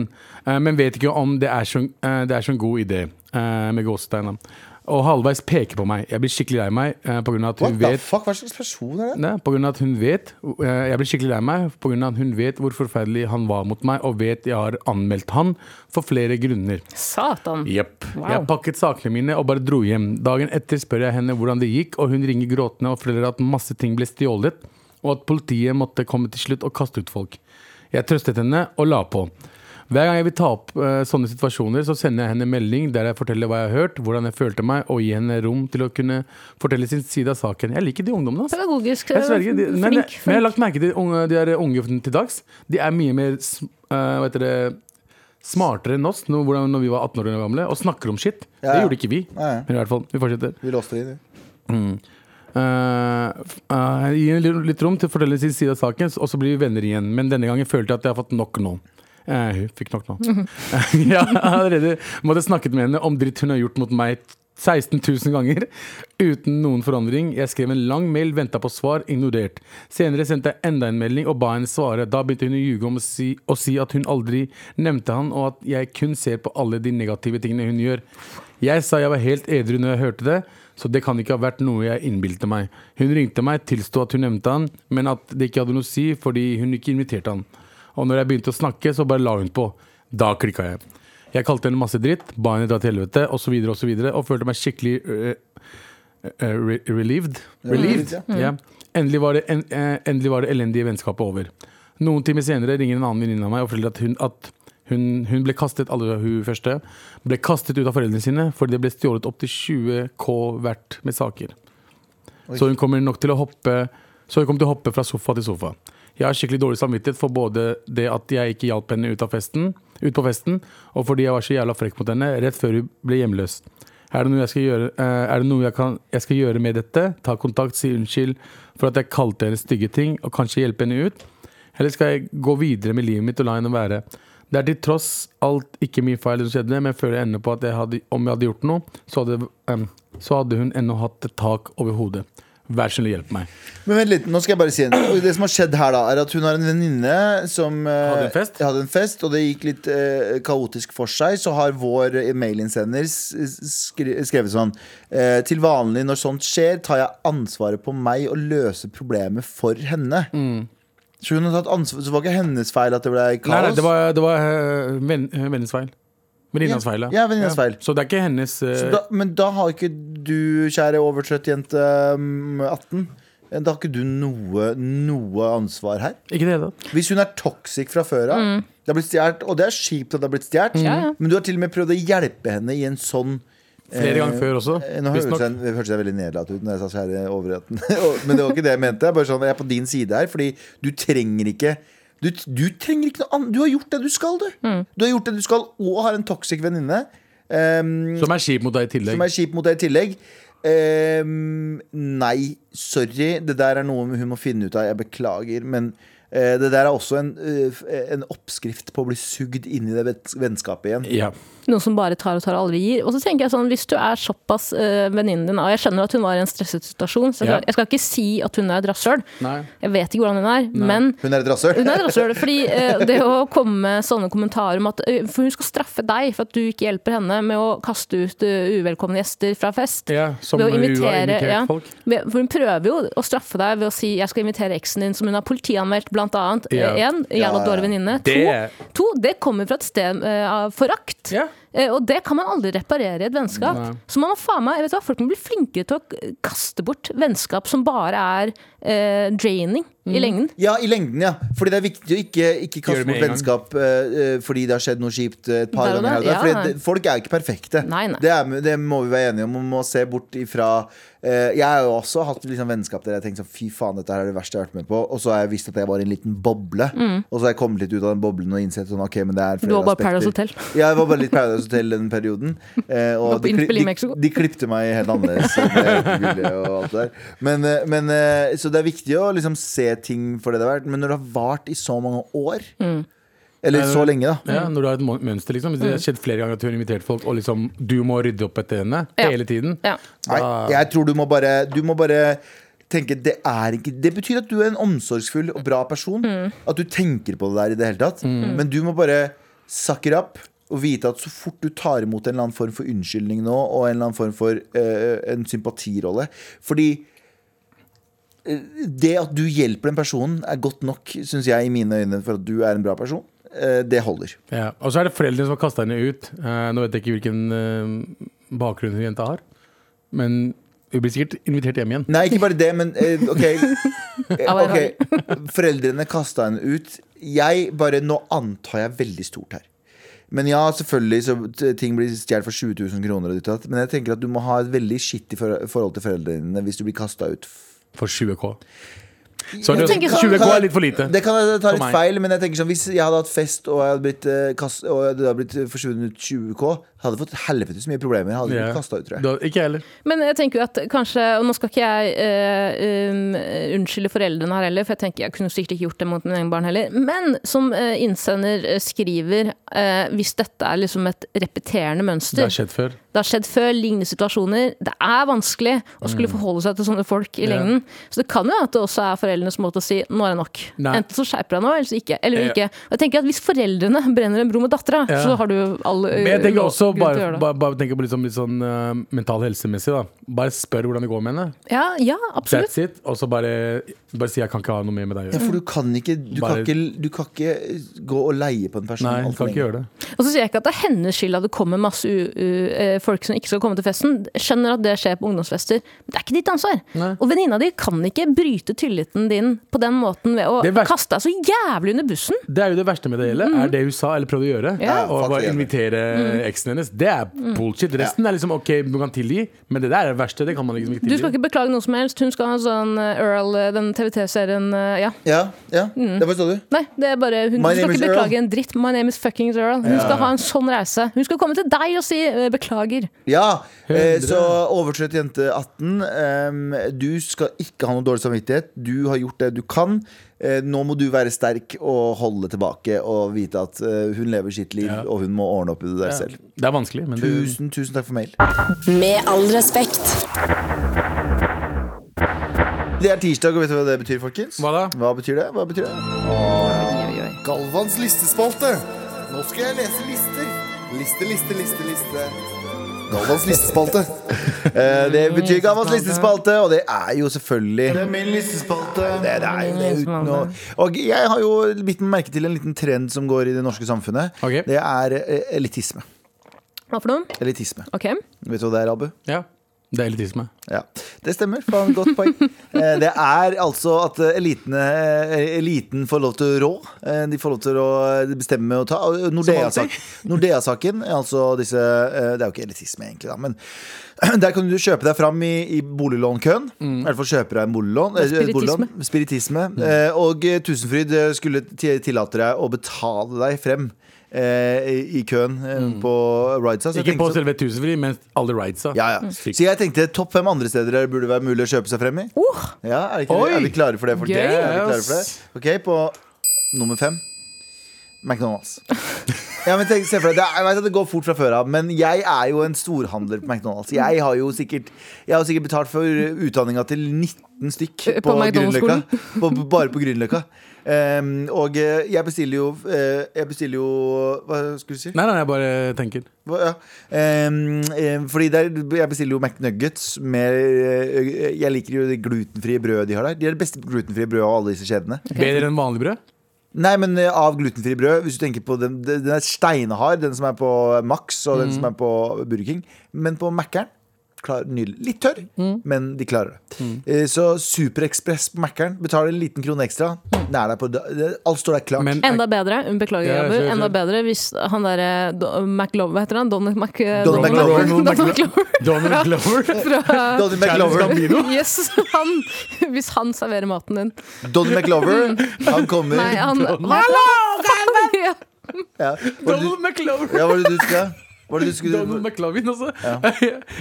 C: Eh, men vet ikke om det er så, eh, det er så en god idé. eh, med gåsetegn. da. Og halvveis peker på meg. Jeg blir skikkelig lei meg eh, på grunn av at
B: What
C: hun
B: the
C: vet
B: fuck? Hva slags person er det?
C: Nei, på grunn av at hun vet eh, Jeg blir skikkelig lei meg På grunn av at hun vet hvor forferdelig han var mot meg Og vet jeg har anmeldt han For flere grunner
D: Satan.
C: Jepp.
D: sånn. Wow.
C: Jeg pakket sakene mine og bare dro hjem. Dagen etter spør jeg henne hvordan det gikk, og hun ringer gråtende og forteller at masse ting ble stjålet, og at politiet måtte komme til slutt og kaste ut folk. Jeg trøstet henne og la på. Hver gang jeg vil ta opp eh, sånne situasjoner, så sender jeg henne en melding der jeg forteller hva jeg har hørt, hvordan jeg følte meg, og gir henne rom til å kunne fortelle sin side av saken. Jeg liker de ungdommene. Altså.
D: Pedagogisk. eh,
C: Jeg sverger. De, nei, nei,
D: flink.
C: Men jeg har
D: flink.
C: lagt merke til unge, de er unge til dags. De er mye mer sm- eh, hva heter det, smartere enn oss nå, hvordan, når vi var 18 år gamle og snakker om shit.
B: Ja,
C: Det
B: ja.
C: gjorde ikke vi.
B: Nei.
C: Men i hvert fall, vi fortsetter.
B: Vi låste det inn.
C: Eh, f- eh, jeg gir litt- litt rom til å fortelle sin side av saken, s- og så blir vi venner igjen. Men denne gangen følte jeg at jeg har fått nok nå. Eh, hun fikk nok nå. jeg har allerede måtte snakket med henne om dritt hun har gjort mot meg 16 000 ganger. Uten noen forandring. Jeg skrev en lang mail, venta på svar, ignorert. Senere sendte jeg enda en melding og ba henne svare. Da begynte hun å ljuge om å si, å si at hun aldri nevnte han, og at jeg kun ser på alle de negative tingene hun gjør. Jeg sa jeg var helt edru når jeg hørte det, så det kan ikke ha vært noe jeg innbilte meg. Hun ringte meg, tilsto at hun nevnte han, men at det ikke hadde noe å si fordi hun ikke inviterte han. Og når jeg begynte å snakke, så bare la hun på. Da klikka jeg. Jeg kalte henne masse dritt, ba henne dra til helvete osv., og, så videre, og, så videre, og følte meg skikkelig øh, øh, re relieved. relieved.
B: relieved,
C: Ja. Endelig, var det, en, eh, endelig var det elendige vennskapet over. Noen timer senere ringer en annen venninne av meg og forteller at hun, at hun, hun ble kastet alle hun første, ble kastet ut av foreldrene sine fordi det ble stjålet opptil 20 K hvert med saker. Så hun kommer nok til å hoppe Så hun kommer til å hoppe fra sofa til sofa. Jeg har skikkelig dårlig samvittighet for både det at jeg ikke hjalp henne ut, av festen, ut på festen, og fordi jeg var så jævla frekk mot henne rett før hun ble hjemløs. Er det noe jeg skal gjøre, eh, er det noe jeg, kan, jeg skal gjøre med dette? Ta kontakt, si unnskyld for at jeg kalte henne stygge ting, og kanskje hjelpe henne ut? Eller skal jeg gå videre med livet mitt og la henne være? Det er til tross alt ikke min feil, det som skjedde, men jeg føler ennå på at jeg hadde, om jeg hadde gjort noe, så hadde, em, så hadde hun ennå hatt et tak over hodet. Vær så snill, hjelp meg.
B: Men vent litt, nå skal jeg bare si en ting. Det som har skjedd her da, er at hun har en venninne som eh,
C: Hadde en fest?
B: hadde en fest, og det gikk litt eh, kaotisk for seg. Så har vår eh, mailinnsender s- skri skrevet sånn eh, Til vanlig når sånt skjer, tar jeg ansvaret på meg og løser problemet for henne. Så hun har tatt ansvar Så det var ikke hennes feil at det ble
C: Mm. Nei,
B: kaos?
C: nei, det var, det var eh, venn- eh, vennens feil. Venninnas feil,
B: Ja, venninnas feil.
C: Så det er ikke hennes eh,
B: Så da, men da har ikke du, kjære overtrøtt jente mm, 18 eh, Da har ikke du noe, noe ansvar her.
C: Ikke det, da.
B: Hvis hun er toxic fra før av, det har blitt stjålet, og det er kjipt at det har blitt stjålet,
D: Mm. Ja, ja.
B: men du har til og med prøvd å hjelpe henne i en sånn
C: Flere
B: eh,
C: ganger før også.
B: Eh, Nå hørtes
C: Visstnok.
B: jeg, det hørtes jeg veldig nedlatt ut når jeg sa kjære overretten. Og- Men det var ikke det jeg mente. Jeg, er bare sånn, jeg er på din side her, fordi du trenger ikke Du, du trenger ikke noe annet. Du har gjort det du skal, du.
D: Mm.
B: Du har gjort det du skal, og har en toxic venninne ehm,
C: Som er kjip mot deg i tillegg.
B: som er kjip mot deg i tillegg. Ehm, nei, sorry. Det der er noe hun må finne ut av. Jeg beklager. Men eh, det der er også en, eh, f- en oppskrift på å bli sugd inn i det vets- vennskapet igjen.
C: Ja.
D: Noen som bare tar og tar og aldri gir. Og så tenker jeg sånn, hvis du er såpass eh, venninnen din, og jeg skjønner at hun var i en stresset situasjon, så jeg
C: Ja.
D: skal, jeg skal ikke si at hun er et rasshøl.
C: Nei.
D: Jeg vet ikke hvordan hun er, men
B: Hun er et rasshøl.
D: hun er et rasshøl. Fordi eh, det å komme med sånne kommentarer om at eh, For hun skal straffe deg for at du ikke hjelper henne med å kaste ut eh, uvelkomne gjester fra fest.
C: Ja, som
D: Ved å
C: hun har
D: invitere-
C: invitert
D: ja.
C: folk.
D: Men- For hun prøver jo å straffe deg ved å si 'jeg skal invitere eksen din', som hun har politianmeldt, blant annet.
C: Ja.
D: Eh, En,
B: Ja,
D: jævla
B: ja.
D: dårlig venninne.
C: Det-
D: To, to, det kommer fra et sted eh, av forakt.
C: Ja.
D: Eh, Og det kan man aldri reparere i et vennskap.
C: Nei.
D: Så man må faen meg, vet du hva, folk må bli flinkere til å k- kaste bort vennskap som bare er eh, draining
C: Mm.
D: i lengden.
B: Ja, i lengden, ja. Fordi det er viktig å ikke, ikke
C: Gjør
B: kaste
C: det med
B: bort
C: en gang.
B: vennskap eh, eh, fordi det har skjedd noe kjipt eh, et par
D: Der og
B: ganger. her og der.
D: der, ja,
B: Fordi det, folk er jo ikke perfekte.
D: Nei, nei.
B: Det, er, det må vi være enige om. Man må se bort ifra eh, Jeg har jo også hatt liksom vennskap der jeg har tenkt sånn fy faen, dette her er det verste jeg har vært med på. Og så har jeg visst at jeg var i en liten boble. Og så har jeg kommet litt ut av den boblen og innsett sånn, ok, men det er
D: Mm. Du
B: flere
D: var bare Paradise
B: aspekter.
D: Hotel.
B: Ja, jeg var bare litt Paradise Hotel den perioden. Eh,
D: var
B: og de,
D: på innspill i
B: kli- de,
D: Mexico.
B: de klipte meg helt annerledes. så det er ikke mulig og alt det der. Men, eh, men, eh, så det er viktig å liksom se ting for det det har vært. Men når det har vart i så mange år,
D: Mm.
B: eller så lenge, da
C: Ja, når du har et mon- mønster, liksom. Hvis det har skjedd flere ganger at hun har invitert folk, og liksom du må rydde opp etter henne
D: Ja.
C: hele tiden
D: Ja.
B: Nei, jeg tror du må bare, du må bare tenke det er ikke Det betyr at du er en omsorgsfull og bra person. At du tenker på det der i det hele tatt. Men du må bare sucker up og vite at så fort du tar imot en eller annen form for unnskyldning nå, og en eller annen form for eh, en sympatirolle Fordi eh, det at du hjelper den personen, er godt nok, syns jeg, i mine øyne, for at du er en bra person. Eh, det holder.
C: Ja. Og så er det foreldrene som har kasta henne ut. Eh, nå vet jeg ikke hvilken eh, bakgrunn hun jenta har, men hun blir sikkert invitert hjem igjen.
B: Nei, ikke bare det, men eh, ok. Eh,
D: Av erfaring.
B: ok. Foreldrene kasta henne ut. Jeg bare, Nå antar jeg veldig stort her. Men ja, selvfølgelig så t- ting blir stjålet for 20 000 kroner. Og ditt og datt, men jeg tenker at du må ha et veldig skittig for forhold til foreldrene dine hvis du blir kasta ut.
C: For 20K. Så er det,
D: tenker sånn-
C: 20K er litt for lite.
B: Det kan jeg ta
C: For
B: litt
C: meg.
B: feil, men jeg tenker sånn hvis jeg hadde hatt fest og jeg hadde blitt, eh, kast, og jeg hadde blitt forsvunnet ut 20K, hadde jeg fått helvetes mye problemer. Jeg hadde
C: Ja.
B: blitt kastet ut, tror jeg.
C: Da, ikke jeg heller.
D: Men jeg tenker jo at kanskje Og nå skal ikke jeg eh, um, unnskylde foreldrene her heller, for jeg tenker jeg kunne sikkert ikke gjort det mot mine egne barn heller. Men som eh, innsender eh, skriver, eh, hvis dette er liksom et repeterende
C: Det har
D: mønster
C: skjedd før.
D: Det har skjedd før, lignende situasjoner. Det er vanskelig å skulle forholde seg til sånne folk i
C: Mm. Ja.
D: lengden. Så det kan jo at det også er foreldrenes måte å si 'nå er det nok'.
C: Nei.
D: Enten så skjerper deg nå, eller så ikke. Eller
C: Ja.
D: ikke. Og jeg tenker at Hvis foreldrene brenner en bro med dattera,
C: Ja.
D: så har du jo all eh,
C: Men jeg tenker
D: lov-
C: også
D: grunn til å
C: bare,
D: gjøre det.
C: bare, bare tenker på litt sånn, litt sånn eh, mental helsemessig. da Bare spør hvordan det går med henne.
D: Ja, ja, absolutt.
C: That's it. Og så bare, bare si 'jeg kan ikke ha noe mer med deg å
B: Ja,
C: gjøre'.
B: for du kan, ikke, du, kan
C: Bare-
B: ikke, du kan ikke gå og leie på en person.
C: Nei,
B: alt
C: hun
B: for
C: kan ikke
B: lenge.
C: gjøre det.
D: Og så sier jeg ikke at det er hennes skyld at det kommer masse u u eh, folk som ikke skal komme til festen. Jeg Skjønner at det skjer på ungdomsfester, men det er ikke ditt ansvar.
C: Nei.
D: Og venninna di kan ikke bryte tilliten din på den måten ved å
C: Det verste-
D: kaste deg så jævlig under bussen.
C: Det er jo det verste med det hele.
D: Mm.
C: Er det hun sa eller prøvde å gjøre.
B: Ja,
C: og
B: faktisk
C: bare
B: enig.
C: invitere eksen hennes. Det er
D: Mm.
C: bullshit. Resten er liksom ok, du kan tilgi, men det der er det verste. Det kan man liksom ikke
D: Du skal
C: tilgi.
D: ikke beklage noe som helst. Hun skal ha en sånn eh, Earl, eh, den TVT-serien eh, Ja.
B: Ja, ja. Det forstår du.
D: Nei, det er bare hun,
B: My
D: du skal
B: name
D: ikke
B: is
D: beklage
B: Earl.
D: en dritt. My name is fuckings Earl. Hun skal ha en sånn reise. Hun skal komme til deg og si eh, beklager.
B: Ja, eh,
C: Hundre.
B: så overtrøtt jente 18 em, Du skal ikke ha noe dårlig samvittighet Du har gjort det du kan eh, Nå må du være sterk og holde tilbake Og vite at eh, hun lever sitt liv
C: Ja.
B: Og hun må ordne opp i det der selv
C: Det er vanskelig, men det,
B: Tusen, tusen takk for mail
A: Med all respekt.
B: Det er tirsdag, og vet du hva det betyr, folkens?
C: Hva da?
B: Hva betyr det? Hva betyr det? Galvans listespalte Nå skal jeg lese lister Liste, liste, liste, liste Galvans listespalte Eh, Det betyr Galvans listespalte Og det er jo selvfølgelig Det er min listespalte Det er jo uten å Og jeg har jo bitt meg merke til en liten trend som går i det norske samfunnet
C: Ok.
B: Det er eh, elitisme
D: Hva for noe?
B: Elitisme.
D: Ok.
B: Vet du hva det er, Abu?
C: Ja. Det er elitisme.
B: Ja, Det stemmer. Faen, godt poeng. Eh, Det er altså at elitene, eh, eliten får lov til å rå. Eh, De får lov til å eh, bestemme og ta. Og Nordea-sak- Nordea-saken, altså disse eh, Det er jo ikke elitisme, egentlig, da, men der kan du kjøpe deg fram i, i boliglånkøen.
C: Mm.
B: I hvert fall kjøpe deg en boliglån. eh,
D: Spiritisme.
B: boliglån. Spiritisme. Eh, Og eh, Tusenfryd eh, skulle ti- tillate deg å betale deg frem. eh, I, I køen eh, på Ridesa. så jeg
C: Mm. Ikke
B: tenkte
C: på
B: sånn-
C: selve tusenfri, men alle rightsa.
B: ja,
D: Mm.
B: ja. Så jeg tenkte topp fem andre steder der det burde være mulig å kjøpe seg frem i.
D: Oh,
B: Ja, er, det ikke,
C: Oi!
B: er vi klare for det, folkens?
D: Gøy!
B: Er vi klare for det? Ok, på nummer fem. McDonald's. Ja, men tenk, se for deg, det er, jeg vet at det går fort fra før av, men jeg er jo en storhandler på McDonald's. Jeg har jo sikkert, jeg har jo sikkert betalt for utdanninga til 19 stykk
D: På McDonald's-skolen.
B: På, på- bare på Grünerløkka. Ehm, og eh, jeg bestiller jo eh, Jeg bestiller jo Hva skulle du si?
C: Nei, nei, jeg bare tenker.
B: Hva- Ja. Ehm, ehm, fordi der, jeg bestiller jo McNuggets med eh, Jeg liker jo det glutenfrie brødet de har der. De er det beste glutenfrie brødet av alle disse kjedene.
C: Bedre enn vanlig brød?
B: Nei, men eh, av glutenfrie brød, hvis du tenker på den, den den er steinhard, den som er på Max og den som er på Burger King. Men på Mækkern klar- nydelig. Litt tørr, men de klarer det. Eh, Så Superekspress på Mækkern betaler en liten krone ekstra. Det er der på, da- det- alt står der klart.
C: Men
D: enda bedre. Beklager,
C: Ja,
D: Abu.
C: kjør, kjør.
D: Enda bedre hvis han derre Do- McLover, hva heter han? eh, Don Mc...
B: Don McLover.
D: Don McLover.
C: Donald Glover
D: Fra
B: Donny McLover,
D: Yes, han, hvis han serverer maten din.
B: Donny McLover han kommer
D: Nei, han Ja.
B: ja. Hva er det du-
C: Donald McLover!
B: Ja, hva var det du skulle? Hva var det du
C: Donald
B: skulle?
C: McLovin, altså.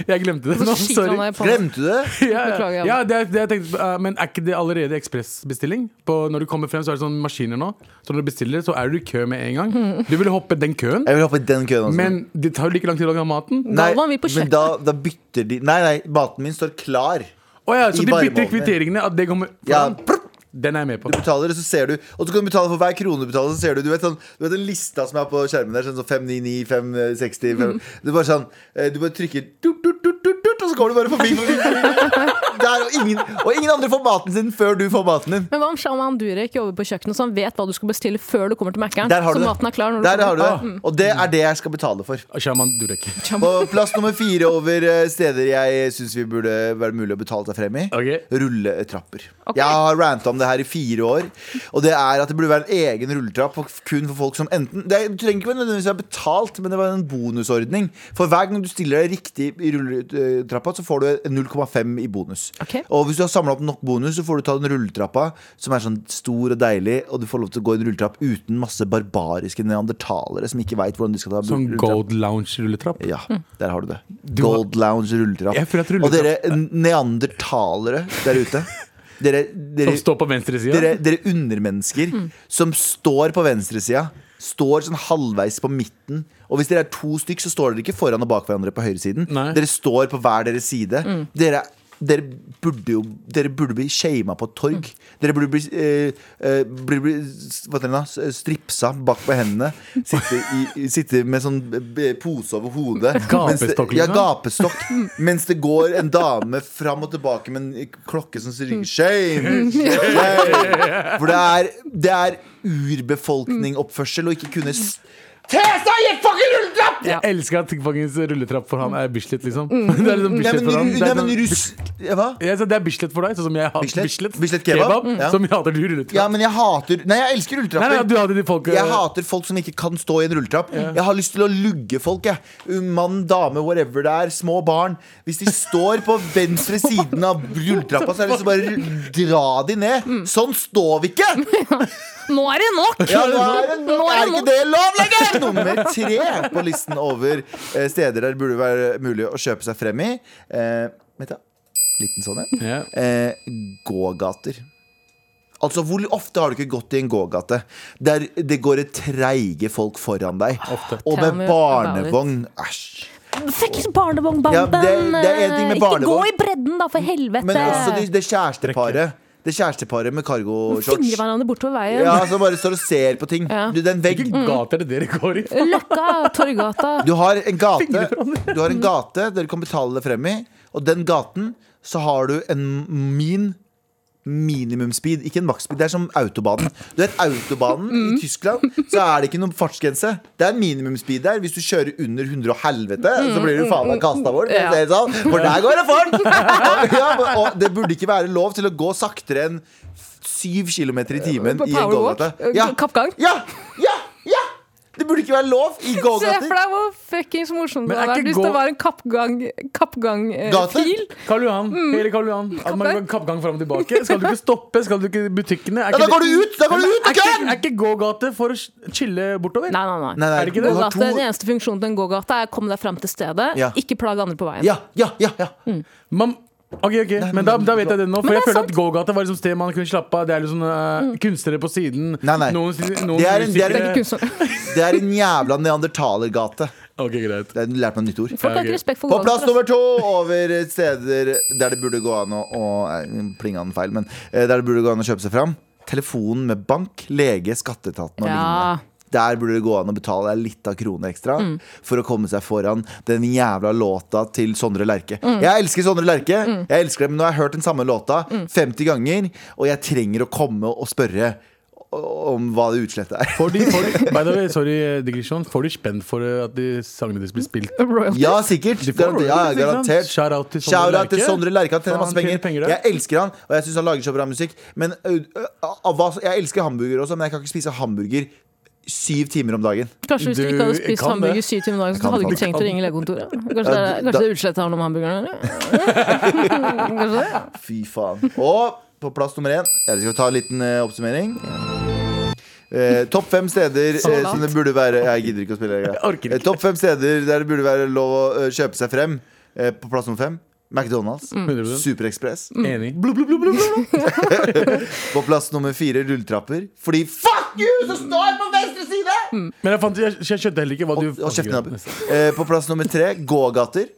C: Jeg glemte det nå,
D: Så skyter han
C: sorry.
D: deg i panna.
B: Glemte du det?
C: Ja,
D: Beklager,
C: ja.
D: Jan.
C: ja det, er- det jeg tenkte, eh, men er ikke det allerede ekspressbestilling? På- Når du kommer frem, så er det sånne maskiner nå. Så når du bestiller, så er du i kø med en gang. Du vil hoppe den køen,
B: Jeg vil hoppe i den køen også.
C: men det tar jo like lang tid å lage maten.
B: nei,
D: Galvan vil på
B: men da, da bytter de Nei, nei, maten min står klar.
C: Å ja, så
B: I
C: de bytter
B: varmeovnen.
C: kvitteringene. At det kommer
B: Ja,
C: foran.
B: prr,
C: Den er jeg med på.
B: du betaler, og så ser du Og så kan du betale for hver krone du betaler. Så ser du Du vet, sånn, du vet den lista som er på skjermen der? Sånn som 599, 560 5,
D: Mm.
B: eh, Det er bare sånn eh, Du bare trykker tut, tut, tut, tut, tut, Og så kommer du bare forbi. forbi, forbi. Der, og, ingen, og ingen andre får maten sin før du får maten din.
D: Men hva om Shaman Durek jobber på kjøkkenet, så han vet hva du skal bestille før du kommer til Mækkern?
B: Der har
D: Så
B: du det.
D: maten er klar når du
B: Der har
D: kommer. Mm.
B: du det. Og det er det jeg skal betale for.
C: Shaman Durek.
B: På plass nummer fire over eh, steder jeg syns vi burde være mulig å betale seg frem i.
C: Ok.
B: Rulletrapper.
D: Ok.
B: Jeg har ranta om det her i fire år. Og det er at det burde være en egen rulletrapp for, kun for folk som enten det, er- Du trenger ikke nødvendigvis være betalt, men det var en bonusordning. For hver gang du stiller deg riktig i rulletrappa, så får du 0,5 i bonus.
D: Ok.
B: Og hvis du har samla opp nok bonus, så får du ta den rulletrappa, som er sånn stor og deilig, og du får lov til å gå i en rulletrapp uten masse barbariske neandertalere som ikke veit hvordan de skal ta
C: Sånn
B: rulletrapp.
C: Gold Lounge-rulletrapp.
B: Ja, der har du det.
C: Du har-
B: Gold Lounge rulletrapp.
C: Jeg føler at
B: Og dere
C: rulletrapp-
B: neandertalere der ute. Dere, dere,
C: Som står på venstre
B: dere,
C: side.
B: dere undermennesker som står på venstresida. Står sånn halvveis på midten. Og hvis dere er to stykk, så står dere ikke foran og bak hverandre på høyresiden.
C: Nei.
B: Dere står på hver deres side. Dere, dere burde jo Dere burde bli shama på et torg. Dere burde bli, eh, eh, burde bli s- hva heter det, da? S- stripsa bak på hendene. Sitte, i, i- sitte med sånn eh, pose over hodet. Mens det-
C: Gapestokk,
B: Ja,
C: liksom.
B: gapestokk. Mens det går en dame fram og tilbake med en klokke som sier 'shame'. shame. For det er, det er urbefolkningoppførsel å ikke kunne s- Tesa, gi fucking rulletrapp!
C: Jeg elsker at fuckings rulletrapp for ham er Bislett, liksom.
D: Mm.
C: Det er liksom
B: Nei,
C: Bislett
B: men,
C: for ham. Det
B: nei,
C: er
B: men
C: sånn-
B: russ... Ja, Hva?
C: Ja, så det er Bislett for deg, sånn som jeg hater
B: Bislett?
C: Bislett.
B: Bislett kebab? Ja.
C: Som jeg hater du rulletrapp.
B: Ja, men jeg hater Nei, jeg elsker
C: Nei, nei,
B: rulletrapper.
C: du hadde de folk eh,
B: Jeg hater folk som ikke kan stå i en rulletrapp. Jeg har lyst til å lugge folk. Jeg. Mann, dame, whatever det er. Små barn. Hvis de står på venstre siden av rulletrappa, så er det så bare dra de ned.
C: Mm.
B: Sånn står vi ikke!
D: Nå er det nok!
B: Ja, nå er, det,
D: Nå er det
B: ikke
D: nok.
B: det lov lenger! Nummer tre på listen over eh, steder der det burde være mulig å kjøpe seg frem i. Eh, vet du, liten sånn en.
C: Ja.
B: Eh, gågater. Altså, Hvor ofte har du ikke gått i en gågate der det går et treige folk foran deg?
C: Ofte.
B: Og
D: Tell me
B: med
D: about it.
B: barnevogn. Æsj.
D: Fuckings
B: Ja, det-
D: barnevognbanden! eh,
B: det er en ting med
D: Ikke gå
B: barnevogn.
D: i bredden, da, for helvete!
B: Men også det, det kjæresteparet. Det kjæresteparet med cargoshorts.
D: Fingre hverandre bortover veien.
B: Ja, som bare står og ser på ting.
D: Ja.
B: Du, den vegg
C: Hvilke gater er det dere går i?
D: Mm. Løkka, Torgata.
B: Du har en gate
C: Fingre hverandre.
B: Du har en gate der du kan betale deg frem i Og den gaten så har du en min minimumsspeed, ikke en maksspeed. Det er som autobanen. Du vet, autobanen
D: Mm.
B: i Tyskland, så er det ikke noen fartsgrense. Det er minimumsspeed der. Hvis du kjører under 100 og helvete, så blir du faen meg kasta bort. for å si det sånn. For der går det fort! ja, men- og det burde ikke være lov til å gå saktere enn syv kilometer i timen
D: På
B: i en
D: powerwalk?
B: gågate.
D: Eh, Kappgang?
B: Ja! Ja! Ja! Det burde ikke være lov i
D: Se for
B: gågater.
D: deg hvor fuckings morsomt
C: Men
D: det
C: er
D: hadde vært
C: ikke
D: hvis det
C: gå-
D: var en kappgang- eh, kappgang-fil.
B: Gate?
C: Karl Johan,
D: Mm.
C: hele Karl Johan. At man kan kappgang fram og tilbake. Skal du ikke stoppe? Skal du ikke i butikkene? Er
B: Ja, da
C: ikke
B: går du ut! Da går du ut!
C: Er ikke,
B: Ken!
C: er ikke gågate for å ch- chille bortover?
D: nei, nei,
B: Nei,
D: nei.
B: nei,
C: Er det ikke det?
B: du har
D: Gågate,
B: to-
D: Den eneste funksjonen til en gågate er å komme deg fram til stedet,
B: Ja.
D: ikke plage andre på veien.
B: Ja, ja, ja, ja.
C: Mm. Man, ok, ok, men da, da vet jeg det nå. For
D: Men det
C: jeg
D: er
C: føler at
D: sant. Mm.
C: gågate var liksom sted man kunne slappe av. Det er liksom eh, kunstnere på siden.
B: Nei, nei.
C: Noen, si- noen
B: Det er en- det er
D: Det er
C: musikere-
D: ikke kunstner.
B: Det er en jævla neandertalergate.
C: Ok, greit.
B: Det er lærte meg et nytt ord.
D: Folk
C: Ja,
D: har
C: ok.
D: ikke respekt for
B: På plass
D: gågater.
B: nummer to over steder der det burde gå an å, å eh, Plinga den feil, men eh, der det burde gå an å kjøpe seg fram. Telefonen med bank, lege, skatteetaten og lignende.
D: Ja.
B: Der burde det gå an å betale deg litt av kroner ekstra for å komme seg foran den jævla låta til Sondre Lerche. Jeg elsker Sondre Lerche, jeg elsker det, men nå har jeg hørt den samme låta 50 ganger, og jeg trenger å komme og spørre om hva det utslettet er.
C: Får de, får de, by the way, sorry, eh, digresjon. Får de spenn for eh, at de sangene deres blir spilt?
D: Royal.
B: Ja, sikkert.
C: De får
B: Garante- ja,
C: royalties, ikke sant?
B: garantert.
C: Shout-out til Sondre
B: Shout-out til
C: Lerche.
B: Sondre Lerche. Han tjener
C: Faen,
B: masse penger.
C: tjener penger der.
B: Jeg elsker han, og jeg syns han lager så bra musikk. Men ø, ø, av hva- jeg elsker hamburger også, men jeg kan ikke spise hamburger syv timer om dagen.
D: Kanskje hvis du
C: Du
D: ikke hadde spist
C: kan
D: hamburger
C: det.
D: syv timer om dagen, så
B: kan
D: hadde du
B: det
D: ikke trengt å ringe legekontoret. Kanskje det, er-
B: Ja, da-
D: kanskje det utslettet har noe med hamburgerne å gjøre. Kanskje det?
B: Fy faen. Og på plass nummer én Eller skal vi ta en liten eh, oppsummering? Eh, Topp fem steder eh,
D: Så langt.
B: som det burde være Jeg gidder ikke å spille. Jeg.
C: orker ikke.
B: Eh, Topp fem steder der det burde være lov å eh, kjøpe seg frem. Eh, på plass nummer fem McDonald's.
C: 100%.
B: Superekspress.
C: Enig. Blub, blub, blub, blub, blub.
B: På plass nummer fire rulletrapper. Fordi fuck you som står på venstre side!
C: Men jeg, fant, jeg, jeg skjønte heller ikke hva du
B: Og, og kjeften opp. Eh, på plass nummer tre gågater.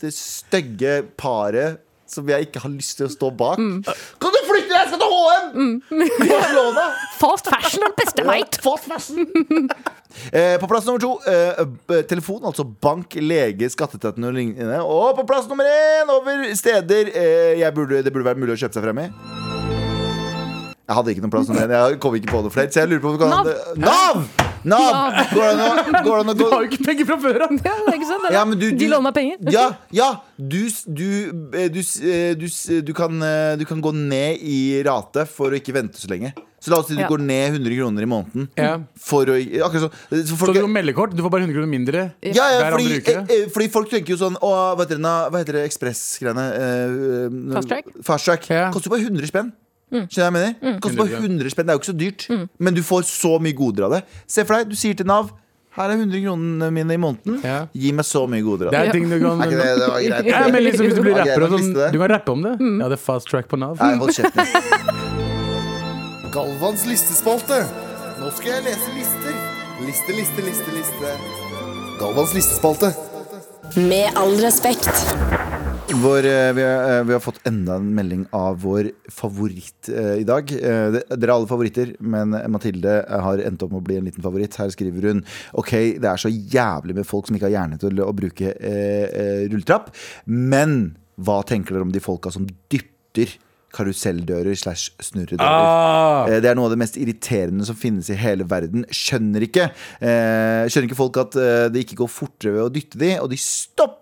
B: Det stygge paret som jeg ikke har lyst til å stå bak.
C: Mm.
B: Kan du flytte deg? Jeg skal til HM! Barcelona!
D: Fast fashion er den beste jeg vet!
B: Fast fashion! Eh, på plass nummer to eh, b- telefon, altså bank, lege, skatteetaten og lignende. Og på plass nummer én over steder eh, jeg burde, det burde være mulig å kjøpe seg frem i. Jeg hadde ikke noen plass nummer én. Jeg kom ikke på noe flere. Så jeg lurer på om vi kan Nav! Nav!
D: Nav.
B: Går det an å- går det an å
C: Du
B: gå
C: har jo ikke penger fra før av!
D: Ja, det er ikke sant? det er
B: Ja,
D: det.
B: men du-
D: De
B: du-
D: låner meg penger.
B: Ja, ja du, s- du, eh, du, s- eh, du, s- du, kan, eh, du kan gå ned i rate for å ikke vente så lenge Så la oss si du
D: Ja.
B: går ned 100 kroner i måneden
C: Ja.
B: For å, ikke- akkurat sånn Eh, så
C: Så
B: folk,
C: du får meldekort? Du får bare 100 kroner mindre?
B: ja, ja,
C: hver
B: fordi,
C: andre uke?
B: eh, eh, fordi folk tenker jo sånn Åh, hva heter det, na- hva heter det ekspressgreiene? Eh, eh,
D: Fast track?
B: Fast track
C: Ja. Mm.
B: Koster bare 100 spenn Skjønner du hva jeg mener? Koster bare
C: 100
B: 100 spenn, det er jo ikke så dyrt
C: Mm.
B: Men du får så mye goder av det Se for deg, du sier til NAV Her er 100 kronene mine i måneden
C: Ja.
B: Gi meg så mye goder av
C: Det
B: det
C: er ting du kan
B: Er ikke det, det var greit
C: ja, men liksom, Hvis du blir
B: Ok,
C: rapper, og
B: da
C: sånn,
B: visste jeg.
C: du kan rappe om det. Ja, det er fast track på Nav.
B: Nei, hold kjeft. Galvans listespalte. Nå skal jeg lese lister. Liste, liste, liste, liste. Galvans listespalte.
E: Med all respekt.
B: Vår, eh, vi, har, eh, vi har fått enda en melding av vår favoritt eh, i dag. Eh, det- dere er alle favoritter, men Mathilde eh, har endt opp med å bli en liten favoritt. Her skriver hun Ok, det er så jævlig med folk som ikke har hjerne til å bruke eh, eh, rulletrapp, men hva tenker dere om de folka som dytter karuselldører slash snurredører?
C: Ah,
B: Eh, Det er noe av det mest irriterende som finnes i hele verden. Skjønner ikke eh, Skjønner ikke folk at eh, det ikke går fortere ved å dytte de, og de stopper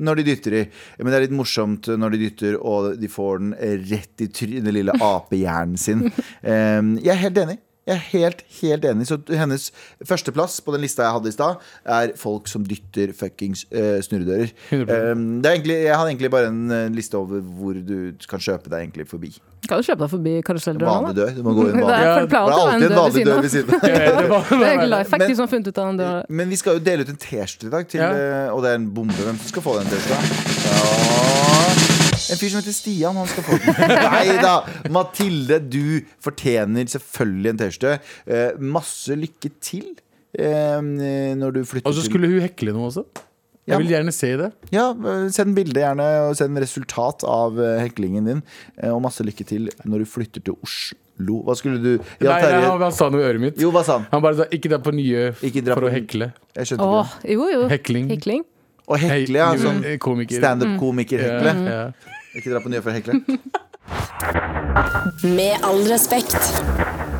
B: når de dytter de. Men det er litt morsomt når de dytter, og de får den rett i try den lille apehjernen sin. Eh, jeg er helt enig. Jeg er helt, helt enig. Så hennes førsteplass på den lista jeg hadde i stad, er folk som dytter fuckings eh, snurredører.
C: 100%.
B: Eh, det er egentlig, jeg hadde egentlig bare en eh, liste over hvor du kan kjøpe deg egentlig forbi.
D: Kan du kjøpe deg forbi karuselldøra
B: Vanlig
D: nå?
B: dør. Du må gå i en
D: Det
B: vanlig
D: er for det pleier
B: det er
D: alltid å være
B: alltid en
D: en død ved
B: vanlig dør
D: siden
B: ved siden av.
C: eh, det var,
D: av. Det er life hack,
B: Men-
D: de som har funnet ut av den døra.
B: Men vi skal jo dele ut en T-skjorte i dag til
C: Ja.
B: eh, Og det er en bombe. Hvem som skal få den T-skjorta? Ja. En fyr som heter Stian, han skal få den. Nei da! Mathilde, du fortjener selvfølgelig en T-skjorte. Eh, masse lykke til eh, når du flytter
C: og så skulle hun hekle noe også. Jeg vil gjerne se det.
B: til Ja, eh, send bilde gjerne, og send resultat av eh, heklingen din. Eh, og masse lykke til når du flytter til Oslo. Hva skulle du
C: Nei,
B: Ja,
C: nei,
B: Terje.
C: han han sa noe i øret mitt.
B: Jo, hva sa han?
C: Han bare sa 'ikke dra på nye
B: Ikke dra
C: for
B: på
C: å
B: nye."
C: hekle'.
B: Jeg skjønte ikke.
D: Åh, jo, jo.
C: Hekling.
D: Hekling.
B: det. Å hekle, ja. Sånn
C: komiker. Mm.
B: standup-komiker-hekle.
C: Ja, ja.
B: Ikke dra på nye for å hekle.
E: Med all respekt.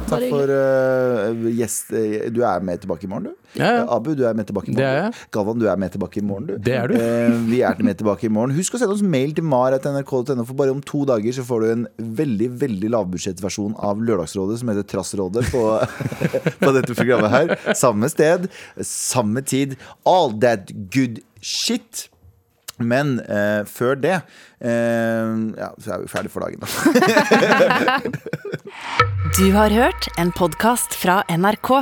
B: Takk for eh, gjest. eh, Du er med tilbake i morgen, du.
C: Ja, ja.
B: Eh, Abu, du er med tilbake i morgen.
C: Det er jeg.
B: du. Galvan, du er med tilbake i morgen, du.
C: Det er du.
B: Eh, vi er med tilbake i morgen. Husk å sende oss mail til mar.nrk.no, for bare om to dager så får du en veldig veldig lavbudsjettversjon av Lørdagsrådet, som heter Trassrådet, på, på dette programmet her. Samme sted, samme tid. All that good shit. Men eh, før det eh, Ja, så er vi ferdig for dagen, da.
A: Du har hørt en podkast fra NRK.